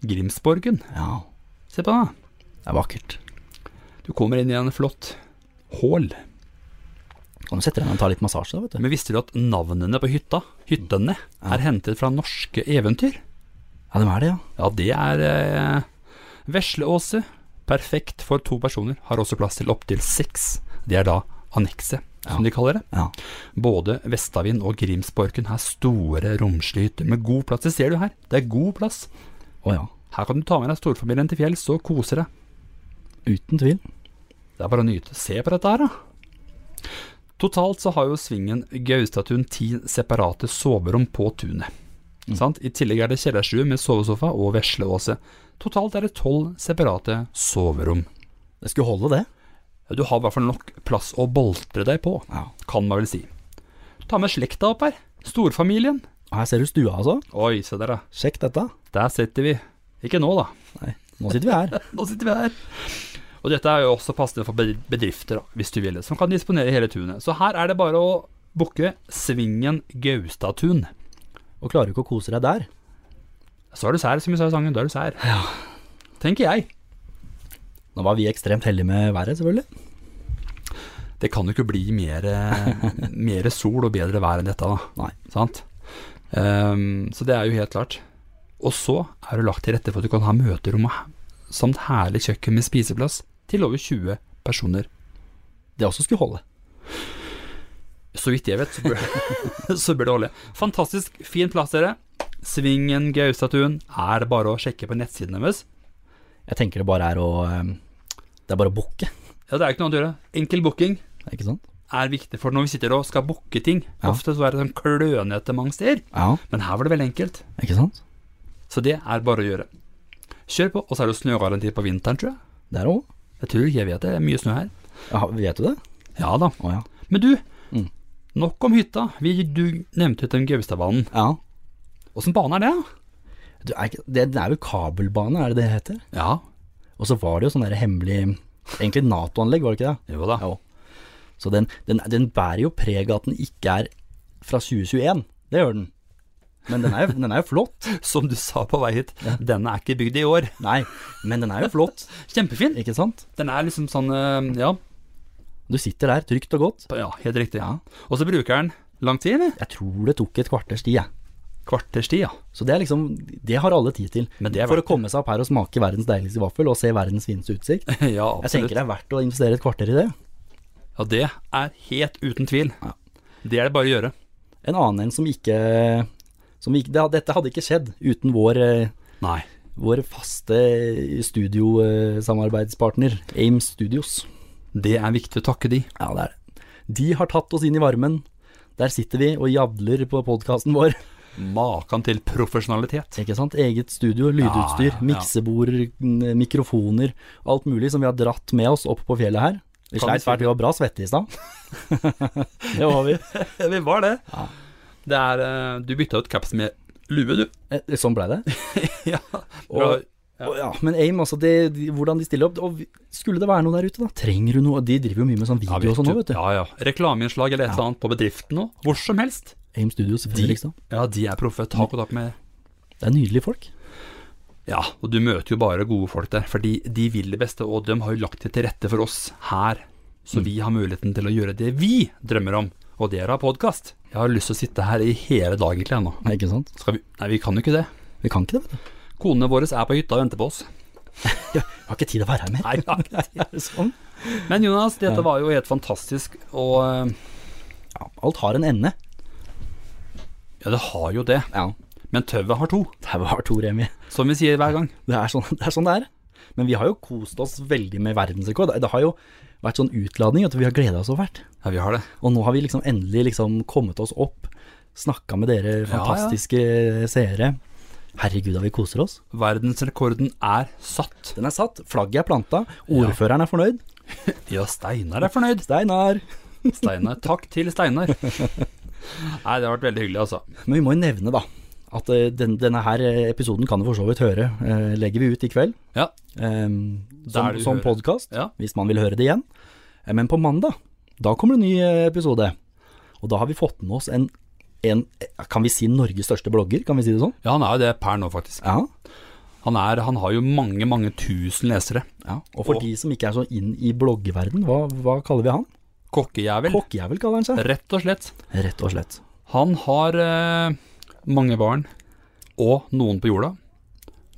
[SPEAKER 3] Grimsborgen.
[SPEAKER 2] Ja,
[SPEAKER 3] Se på den.
[SPEAKER 2] det er vakkert.
[SPEAKER 3] da. Du kommer inn i en flott hål.
[SPEAKER 2] Kan du sette deg ned og ta litt massasje, da, vet du.
[SPEAKER 3] Men visste du at navnene på hytta, hyttene, er hentet fra norske eventyr?
[SPEAKER 2] Ja, de er det, ja.
[SPEAKER 3] Ja, det er eh, Vesleåse. Perfekt for to personer. Har også plass til opptil seks. Det er da annekset, som de kaller det.
[SPEAKER 2] Ja.
[SPEAKER 3] Både Vestavind og Grimsborken har store romslige hytter med god plass. Det ser du her, det er god plass.
[SPEAKER 2] Å ja.
[SPEAKER 3] Her kan du ta med deg storfamilien til fjells og kose deg.
[SPEAKER 2] Uten tvil.
[SPEAKER 3] Det er bare å nyte. Se på dette her, da. Totalt så har jo svingen Gaustatun ti separate soverom på tunet. Sant? I tillegg er det kjellerstue med sovesofa og vesleåse. Totalt er det tolv separate soverom.
[SPEAKER 2] Det skulle holde, det.
[SPEAKER 3] Ja, Du har i hvert fall nok plass å boltre deg på,
[SPEAKER 2] Ja.
[SPEAKER 3] kan man vel si. Ta med slekta opp her. Storfamilien.
[SPEAKER 2] Her ser du stua, altså.
[SPEAKER 3] Oi, se der, da.
[SPEAKER 2] Sjekk dette.
[SPEAKER 3] Der sitter vi. Ikke nå, da.
[SPEAKER 2] Nei, nå sitter vi her.
[SPEAKER 3] Nå sitter vi her. Og dette er jo også passende for bed- bedrifter, da, hvis du vil, som kan disponere hele tunet. Så her er det bare å booke Svingen Gaustatun.
[SPEAKER 2] Og klarer du ikke å kose deg der?
[SPEAKER 3] Så er du sær, som vi sa i sangen. Da er du sær. Tenker jeg.
[SPEAKER 2] Nå var vi ekstremt heldige med været, selvfølgelig.
[SPEAKER 3] Det kan jo ikke bli mer, mer sol og bedre vær enn dette, da.
[SPEAKER 2] Nei.
[SPEAKER 3] Sant? Ehm, så det er jo helt klart. Og så er det lagt til rette for at du kan ha møterom og he- samt herlig kjøkken med spiseplass til over 20 personer.
[SPEAKER 2] Det også skulle holde.
[SPEAKER 3] Så vidt jeg vet, så bør, så bør det holde. Fantastisk fin plass, dere. Svingen Gaustatuen er det bare å sjekke på nettsiden deres.
[SPEAKER 2] Jeg tenker det bare er å eh, Det er bare å booke,
[SPEAKER 3] Ja, det er jo ikke noe annet å gjøre. Enkel booking
[SPEAKER 2] ikke sant?
[SPEAKER 3] er viktig, for når vi sitter og skal booke ting,
[SPEAKER 2] Ja.
[SPEAKER 3] ofte så er det sånn klønete mange steder,
[SPEAKER 2] Ja,
[SPEAKER 3] men her var det veldig enkelt.
[SPEAKER 2] ikke sant?
[SPEAKER 3] Så det er bare å gjøre. Kjør på, og så er det jo snøgaranti på vinteren, tror jeg.
[SPEAKER 2] Der òg.
[SPEAKER 3] Jeg tror ikke jeg vet det, det er mye snø her.
[SPEAKER 2] Ja, vet du det?
[SPEAKER 3] Ja da.
[SPEAKER 2] Å ja.
[SPEAKER 3] Men du,
[SPEAKER 2] Mm.
[SPEAKER 3] nok om hytta. Vi, du nevnte den Gaustadbanen.
[SPEAKER 2] ja.
[SPEAKER 3] Åssen bane er det? da?
[SPEAKER 2] Du, er ikke, det, det er jo kabelbane, er det det det heter?
[SPEAKER 3] Ja,
[SPEAKER 2] Og så var det jo sånn der hemmelig Egentlig Nato-anlegg, var det ikke det?
[SPEAKER 3] jo da.
[SPEAKER 2] Jo. Så den, den, den bærer jo preg av at den ikke er fra 2021. Det gjør den. Men den er, jo- den er jo flott.
[SPEAKER 3] Som du sa på vei hit, denne er ikke bygd i år.
[SPEAKER 2] Nei, men den er jo flott,
[SPEAKER 3] Kjempefin.
[SPEAKER 2] ikke sant?
[SPEAKER 3] Den er liksom sånn eh, Ja,
[SPEAKER 2] Du sitter der trygt og godt.
[SPEAKER 3] på- ja helt riktig. Og så bruker den lang tid, eller?
[SPEAKER 2] Jeg tror det tok et kvarters tid, jeg.
[SPEAKER 3] Kvarterstid, ja.
[SPEAKER 2] Så det er liksom Det har alle tid til.
[SPEAKER 3] Men det er
[SPEAKER 2] For
[SPEAKER 3] verdt
[SPEAKER 2] å komme seg opp her og smake verdens deiligste vaffel og se verdens fineste utsikt.
[SPEAKER 3] ja,
[SPEAKER 2] Jeg
[SPEAKER 3] absolutt.
[SPEAKER 2] tenker det er verdt å investere et kvarter i det.
[SPEAKER 3] Ja, det er helt uten tvil. Det er det bare å gjøre.
[SPEAKER 2] En annen en som ikke, som ikke det, Dette hadde ikke skjedd uten vår eh,
[SPEAKER 3] Nei.
[SPEAKER 2] Vår faste studiosamarbeidspartner, Aim Studios.
[SPEAKER 3] Det er viktig å takke de.
[SPEAKER 2] Ja, det er det. De har tatt oss inn i varmen. Der sitter vi og jadler på podkasten vår.
[SPEAKER 3] Mm. Makan til profesjonalitet.
[SPEAKER 2] Ikke sant? Eget studio, lydutstyr,
[SPEAKER 3] Ja, ja, ja.
[SPEAKER 2] miksebord, n- mikrofoner. Alt mulig som vi har dratt med oss opp på fjellet her. Vi
[SPEAKER 3] Kan
[SPEAKER 2] sleit
[SPEAKER 3] vi
[SPEAKER 2] fælt, vi var bra svette i stad. det var vi.
[SPEAKER 3] Vi var det. Det er eh, Du bytta ut caps med lue, du.
[SPEAKER 2] Eh, Sånn blei det.
[SPEAKER 3] ja.
[SPEAKER 2] Og, og ja, men AIM, altså, det, de, hvordan de stiller opp Og vi- skulle det være noe der ute, da? Trenger du noe? De driver jo mye med sånn video og sånn nå, vet du.
[SPEAKER 3] Ja, ja. Reklameinnslag eller et eller annet på bedriften òg. Hvor som helst. Mm.
[SPEAKER 2] AIM Studios, Fredrikstad.
[SPEAKER 3] Ja, de er proffe. Ta kontakt med
[SPEAKER 2] Det er nydelige folk.
[SPEAKER 3] Ja, og du møter jo bare gode folk der, fordi de vil det beste, og de har jo lagt det til rette for oss her. Så vi har muligheten til å gjøre det vi drømmer om, og dere har podkast. Jeg har lyst til å sitte her i hele dag egentlig ennå.
[SPEAKER 2] Nei, ikke sant?
[SPEAKER 3] Skal vi Nei, vi kan jo ikke det.
[SPEAKER 2] Vi kan ikke det, vet du.
[SPEAKER 3] Konene våre er på hytta og venter på oss.
[SPEAKER 2] Jeg har ikke tid til å være her mer.
[SPEAKER 3] Nei, ja.
[SPEAKER 2] Er det sånn?
[SPEAKER 3] Men Jonas, dette var jo helt fantastisk, og eh,
[SPEAKER 2] Ja, alt har en ende.
[SPEAKER 3] ja, det har jo det.
[SPEAKER 2] Ja.
[SPEAKER 3] Men tøvet har to,
[SPEAKER 2] Det var to, Remi.
[SPEAKER 3] som vi sier hver gang.
[SPEAKER 2] Det er, sånn, det er sånn det er. Men vi har jo kost oss veldig med verdensrekord. Det har jo vært sånn utladning at vi har gleda oss over hvert.
[SPEAKER 3] Ja, vi har det.
[SPEAKER 2] Og nå har vi liksom endelig liksom kommet oss opp, snakka med dere fantastiske seere. Herregud, da vi koser oss.
[SPEAKER 3] Verdensrekorden er satt.
[SPEAKER 2] Den er satt, flagget er planta, ordføreren er fornøyd.
[SPEAKER 3] Ja, Steinar er fornøyd.
[SPEAKER 2] Steinar.
[SPEAKER 3] Steinar. Takk til Steinar. Nei, det har vært veldig hyggelig, altså.
[SPEAKER 2] Men vi må jo nevne, da, at eh, den, denne her episoden kan du for så vidt høre. eh, Legger vi ut i kveld.
[SPEAKER 3] Ja,
[SPEAKER 2] Ehm,
[SPEAKER 3] Der
[SPEAKER 2] som
[SPEAKER 3] du
[SPEAKER 2] som
[SPEAKER 3] hører.
[SPEAKER 2] podkast,
[SPEAKER 3] Ja.
[SPEAKER 2] hvis man vil høre det igjen. Eh, Men på mandag, da kommer det en ny eh, episode. Og da har vi fått med oss en, en eh, Kan vi si Norges største blogger? Kan vi si det sånn?
[SPEAKER 3] Ja, han er jo det per nå, faktisk.
[SPEAKER 2] Ja.
[SPEAKER 3] Han, er, han har jo mange, mange tusen lesere.
[SPEAKER 2] Og for
[SPEAKER 3] Og-
[SPEAKER 2] de som ikke er så inn i bloggeverden, hva, hva kaller vi han?
[SPEAKER 3] Kokkejævel,
[SPEAKER 2] Kokkejævel kaller han seg.
[SPEAKER 3] rett og slett.
[SPEAKER 2] Rett og slett.
[SPEAKER 3] Han har eh, mange barn, og noen på jorda,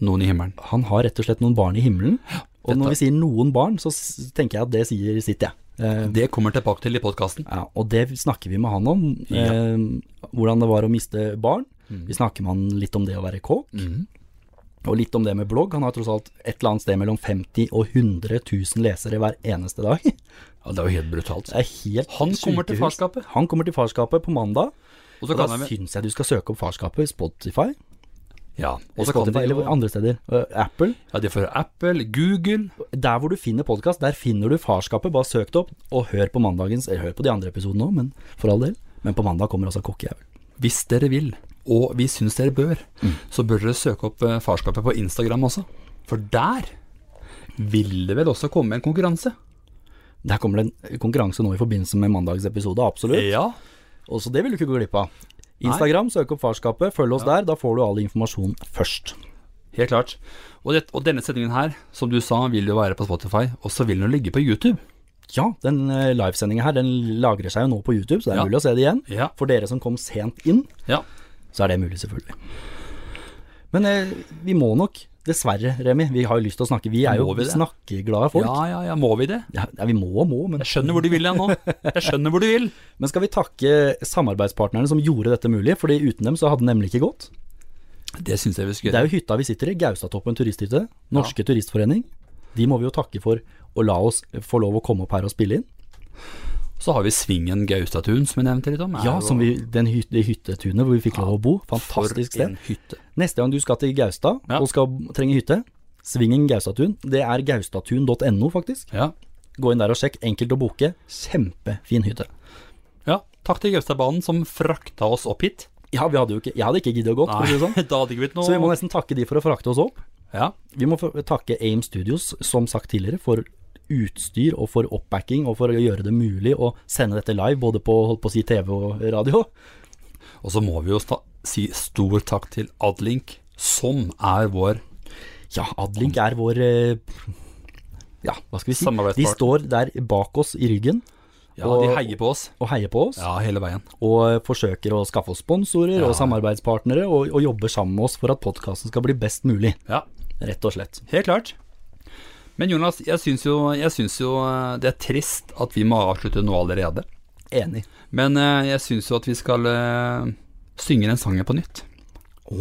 [SPEAKER 3] noen i himmelen.
[SPEAKER 2] Han har rett og slett noen barn i himmelen. Og
[SPEAKER 3] Dette-
[SPEAKER 2] når vi sier noen barn, så s- tenker jeg at det sier sitt, jeg. Eh,
[SPEAKER 3] Det kommer tilbake til i podkasten.
[SPEAKER 2] ja, og det snakker vi med han om. Eh, hvordan det var å miste barn.
[SPEAKER 3] Mm.
[SPEAKER 2] Vi snakker med han litt om det å være kåk. Og litt om det med blogg. Han har tross alt et eller annet sted mellom 50 000 og 100 000 lesere hver eneste dag.
[SPEAKER 3] Ja, det er jo helt brutalt.
[SPEAKER 2] Det er helt
[SPEAKER 3] Han kommer til
[SPEAKER 2] sykehus.
[SPEAKER 3] farskapet.
[SPEAKER 2] Han kommer til farskapet på mandag.
[SPEAKER 3] Og så
[SPEAKER 2] Og
[SPEAKER 3] kan
[SPEAKER 2] da
[SPEAKER 3] jeg
[SPEAKER 2] syns jeg du skal søke opp farskapet i Spotify.
[SPEAKER 3] Ja, og så kan
[SPEAKER 2] Spotify
[SPEAKER 3] de
[SPEAKER 2] eller
[SPEAKER 3] jo
[SPEAKER 2] andre steder. Eh, Apple.
[SPEAKER 3] Ja, de får Apple, Google
[SPEAKER 2] Der hvor du finner podkast, der finner du farskapet. Bare søk det opp, og hør på mandagens Eller hør på de andre episodene òg, men for all del. Men på mandag kommer altså Kokkejævel.
[SPEAKER 3] Hvis dere vil, og vi syns dere bør,
[SPEAKER 2] Mm.
[SPEAKER 3] så bør dere søke opp eh, farskapet på Instagram også. For der vil det vel også komme en konkurranse?
[SPEAKER 2] Der kommer det en konkurranse nå i forbindelse med mandagens episode, absolutt.
[SPEAKER 3] Ja.
[SPEAKER 2] Og så det vil du ikke gå glipp av. Instagram, søk opp farskapet, følg oss der. Da får du all informasjon først.
[SPEAKER 3] Helt klart. Og, det, og denne sendingen her, som du sa, vil jo være på Spotify, og så vil den jo ligge på YouTube.
[SPEAKER 2] Ja, den eh, livesendingen her, den lagrer seg jo nå på YouTube, så det er
[SPEAKER 3] Ja.
[SPEAKER 2] mulig å se det igjen.
[SPEAKER 3] Ja.
[SPEAKER 2] For dere som kom sent inn,
[SPEAKER 3] Ja.
[SPEAKER 2] så er det mulig, selvfølgelig. Men eh, vi må nok, dessverre, Remi, vi har jo lyst til å snakke. Vi er jo
[SPEAKER 3] Må vi det?
[SPEAKER 2] snakkeglade folk.
[SPEAKER 3] ja, ja, ja, må vi det?
[SPEAKER 2] Ja, ja, vi må og må, men,
[SPEAKER 3] Jeg skjønner hvor du vil jeg nå. Jeg skjønner hvor du vil.
[SPEAKER 2] men skal vi takke samarbeidspartnerne som gjorde dette mulig? Fordi uten dem så hadde det nemlig ikke gått.
[SPEAKER 3] Det syns jeg vi skal
[SPEAKER 2] Det
[SPEAKER 3] gjøre.
[SPEAKER 2] er jo hytta vi sitter i, Gaustatoppen turisthytte. Norske Turistforening. De må vi jo takke for å la oss få lov å komme opp her og spille inn.
[SPEAKER 3] Så har vi Svingen Gaustatun, som jeg nevnte litt om. er
[SPEAKER 2] Ja,
[SPEAKER 3] jo
[SPEAKER 2] som vi, den hyt, det hyttetunet hvor vi fikk lov å bo. Fantastisk
[SPEAKER 3] for en
[SPEAKER 2] sted.
[SPEAKER 3] hytte.
[SPEAKER 2] Neste gang du skal til Gaustad
[SPEAKER 3] Ja.
[SPEAKER 2] og skal trenge hytte, svingen Gaustatun. Det er gaustatun.no, faktisk.
[SPEAKER 3] Ja.
[SPEAKER 2] Gå inn der og sjekk. Enkelt å booke. Kjempefin hytte.
[SPEAKER 3] ja. Takk til Gaustadbanen som frakta oss opp hit.
[SPEAKER 2] Ja, vi hadde jo ikke, jeg hadde ikke giddet å gå, for å si det sånn.
[SPEAKER 3] Nei, da hadde det ikke blitt noe
[SPEAKER 2] Så vi må nesten takke de for å frakte oss opp.
[SPEAKER 3] Ja.
[SPEAKER 2] Vi må få- takke AIM Studios, som sagt tidligere, for utstyr og for oppbacking, og for å gjøre det mulig å sende dette live, både på, holdt på å si, TV og radio.
[SPEAKER 3] Og så må vi jo sta si stor takk til Adlink, som er vår
[SPEAKER 2] Ja, Adlink er vår eh, Ja, hva skal vi si?
[SPEAKER 3] Samarbeidspartner.
[SPEAKER 2] De står der bak oss i ryggen
[SPEAKER 3] Ja,
[SPEAKER 2] Og-
[SPEAKER 3] de heier på oss.
[SPEAKER 2] og heier på oss.
[SPEAKER 3] Ja, hele veien.
[SPEAKER 2] Og eh, forsøker å skaffe oss sponsorer og samarbeidspartnere, og, og jobber sammen med oss for at podkasten skal bli best mulig,
[SPEAKER 3] Ja,
[SPEAKER 2] rett og slett.
[SPEAKER 3] helt klart. Men Jonas, jeg syns jo, jeg syns jo eh, det er trist at vi må avslutte nå allerede.
[SPEAKER 2] Enig.
[SPEAKER 3] Men eh, jeg syns jo at vi skal eh, synge den sangen på nytt.
[SPEAKER 2] Å!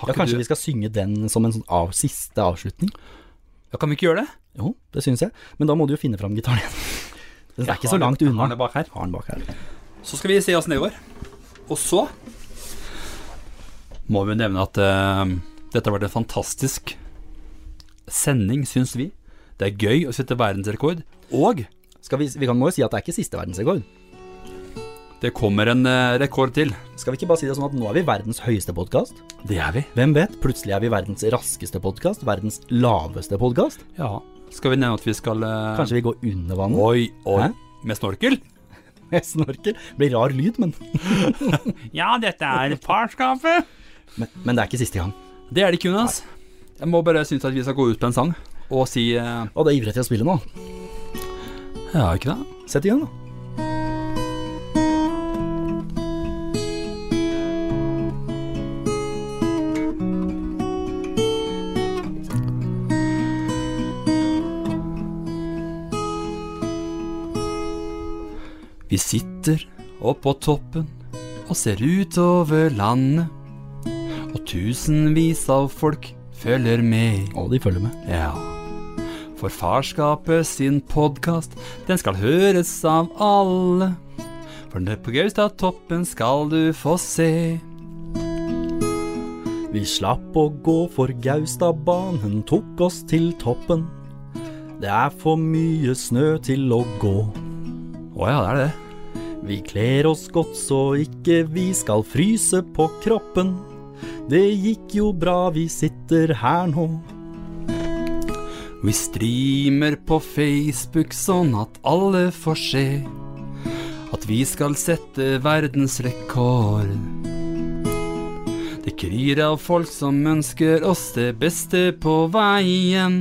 [SPEAKER 3] Har
[SPEAKER 2] Ja,
[SPEAKER 3] ikke
[SPEAKER 2] kanskje
[SPEAKER 3] du-
[SPEAKER 2] vi skal synge den som en sånn av, siste avslutning?
[SPEAKER 3] ja, Kan vi ikke gjøre det?
[SPEAKER 2] Jo, det syns jeg. Men da må du jo finne fram gitaren igjen. Den er
[SPEAKER 3] Jeg
[SPEAKER 2] ikke så
[SPEAKER 3] har den-
[SPEAKER 2] langt
[SPEAKER 3] jeg
[SPEAKER 2] unna.
[SPEAKER 3] har den bak her.
[SPEAKER 2] Har den bak her.
[SPEAKER 3] Så skal vi se oss nedover. Og så må vi nevne at eh, dette har vært en fantastisk sending, syns vi. Det er gøy å sette verdensrekord. Og
[SPEAKER 2] Skal vi, vi kan må jo si at det er ikke siste verdensrekord.
[SPEAKER 3] det kommer en eh, rekord til.
[SPEAKER 2] Skal vi ikke bare si det sånn at nå er vi verdens høyeste podkast?
[SPEAKER 3] Det er vi.
[SPEAKER 2] Hvem vet, plutselig er vi verdens raskeste podkast, verdens laveste podkast.
[SPEAKER 3] Ja. Skal vi nevne at vi skal eh,
[SPEAKER 2] Kanskje vi går under vannet?
[SPEAKER 3] Oi, oi.
[SPEAKER 2] Hæ?
[SPEAKER 3] Med snorkel?
[SPEAKER 2] Jeg snorker. Blir rar lyd, men,
[SPEAKER 3] Ja, dette er farskapet.
[SPEAKER 2] men Men det er ikke siste gang.
[SPEAKER 3] Det er det ikke, Jonas. Jeg må bare synes at vi skal gå ut på en sang og si eh,
[SPEAKER 2] Og det er ivret til å spille nå.
[SPEAKER 3] Ja, ikke det?
[SPEAKER 2] Sett i gang, da.
[SPEAKER 3] Vi sitter oppå toppen og ser utover landet. Og tusenvis av folk følger med.
[SPEAKER 2] Å, de følger med.
[SPEAKER 3] Ja. For farskapet sin podkast, den skal høres av alle. For ned på Gaustatoppen skal du få se.
[SPEAKER 2] Vi slapp å gå for Gaustadbanen, tok oss til toppen. Det er for mye snø til å gå.
[SPEAKER 3] Å ja, det er det.
[SPEAKER 2] Vi kler oss godt så ikke vi skal fryse på kroppen. Det gikk jo bra, vi sitter her nå.
[SPEAKER 3] Vi streamer på Facebook sånn at alle får se at vi skal sette verdensrekord. Det kryr av folk som ønsker oss det beste på veien.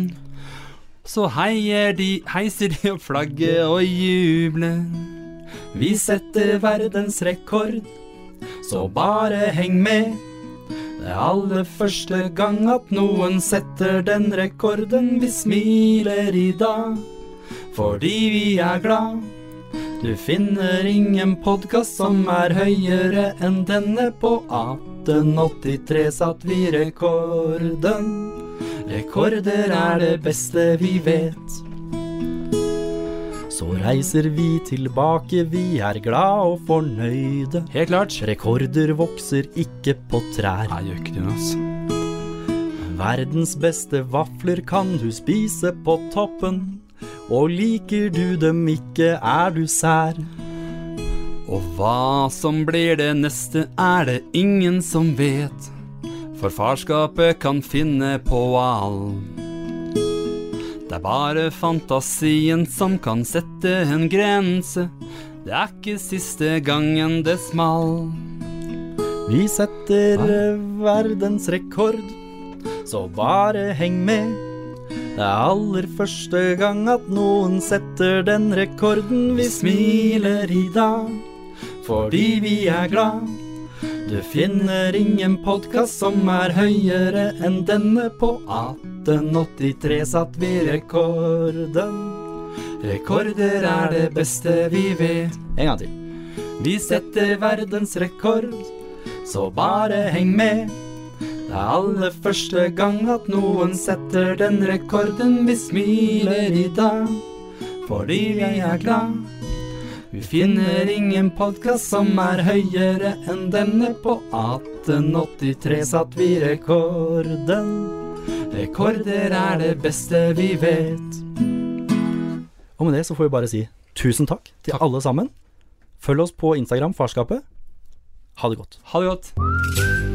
[SPEAKER 3] Så heier de, heiser de opp flagget og jubler. Vi setter verdensrekord, så bare heng med. Det er aller første gang at noen setter den rekorden. Vi smiler i dag. fordi vi er glad. Du finner ingen podkast som er høyere enn denne. På 1883 satt vi rekorden. Rekorder er det beste vi vet. Så reiser vi tilbake, vi er glad og fornøyde.
[SPEAKER 2] Helt klart.
[SPEAKER 3] Rekorder vokser ikke på trær.
[SPEAKER 2] Nei, gjør ikke det, ass.
[SPEAKER 3] Verdens beste vafler kan du spise på toppen. Og liker du dem ikke, er du sær.
[SPEAKER 2] Og hva som blir det neste, er det ingen som vet. For farskapet kan finne på all. Det er bare fantasien som kan sette en grense. Det er ikke siste gangen det small.
[SPEAKER 3] Vi setter eh, verdensrekord, så bare heng med. Det er aller første gang at noen setter den rekorden. Vi smiler i dag fordi vi er glad. Du finner ingen podkast som er høyere enn denne. På 1883 satt vi rekorden. Rekorder er det beste vi vet. En gang til. Vi setter verdensrekord, så bare heng med. Det er aller første gang at noen setter den rekorden. Vi smiler i dag fordi vi er glad. Vi finner ingen podkast som er høyere enn denne. På 1883 satt vi rekorden. Rekorder er det beste vi vet. Og med det så får vi bare si tusen takk til alle sammen. Følg oss på Instagram, Farskapet. Ha det godt.
[SPEAKER 2] Ha det godt.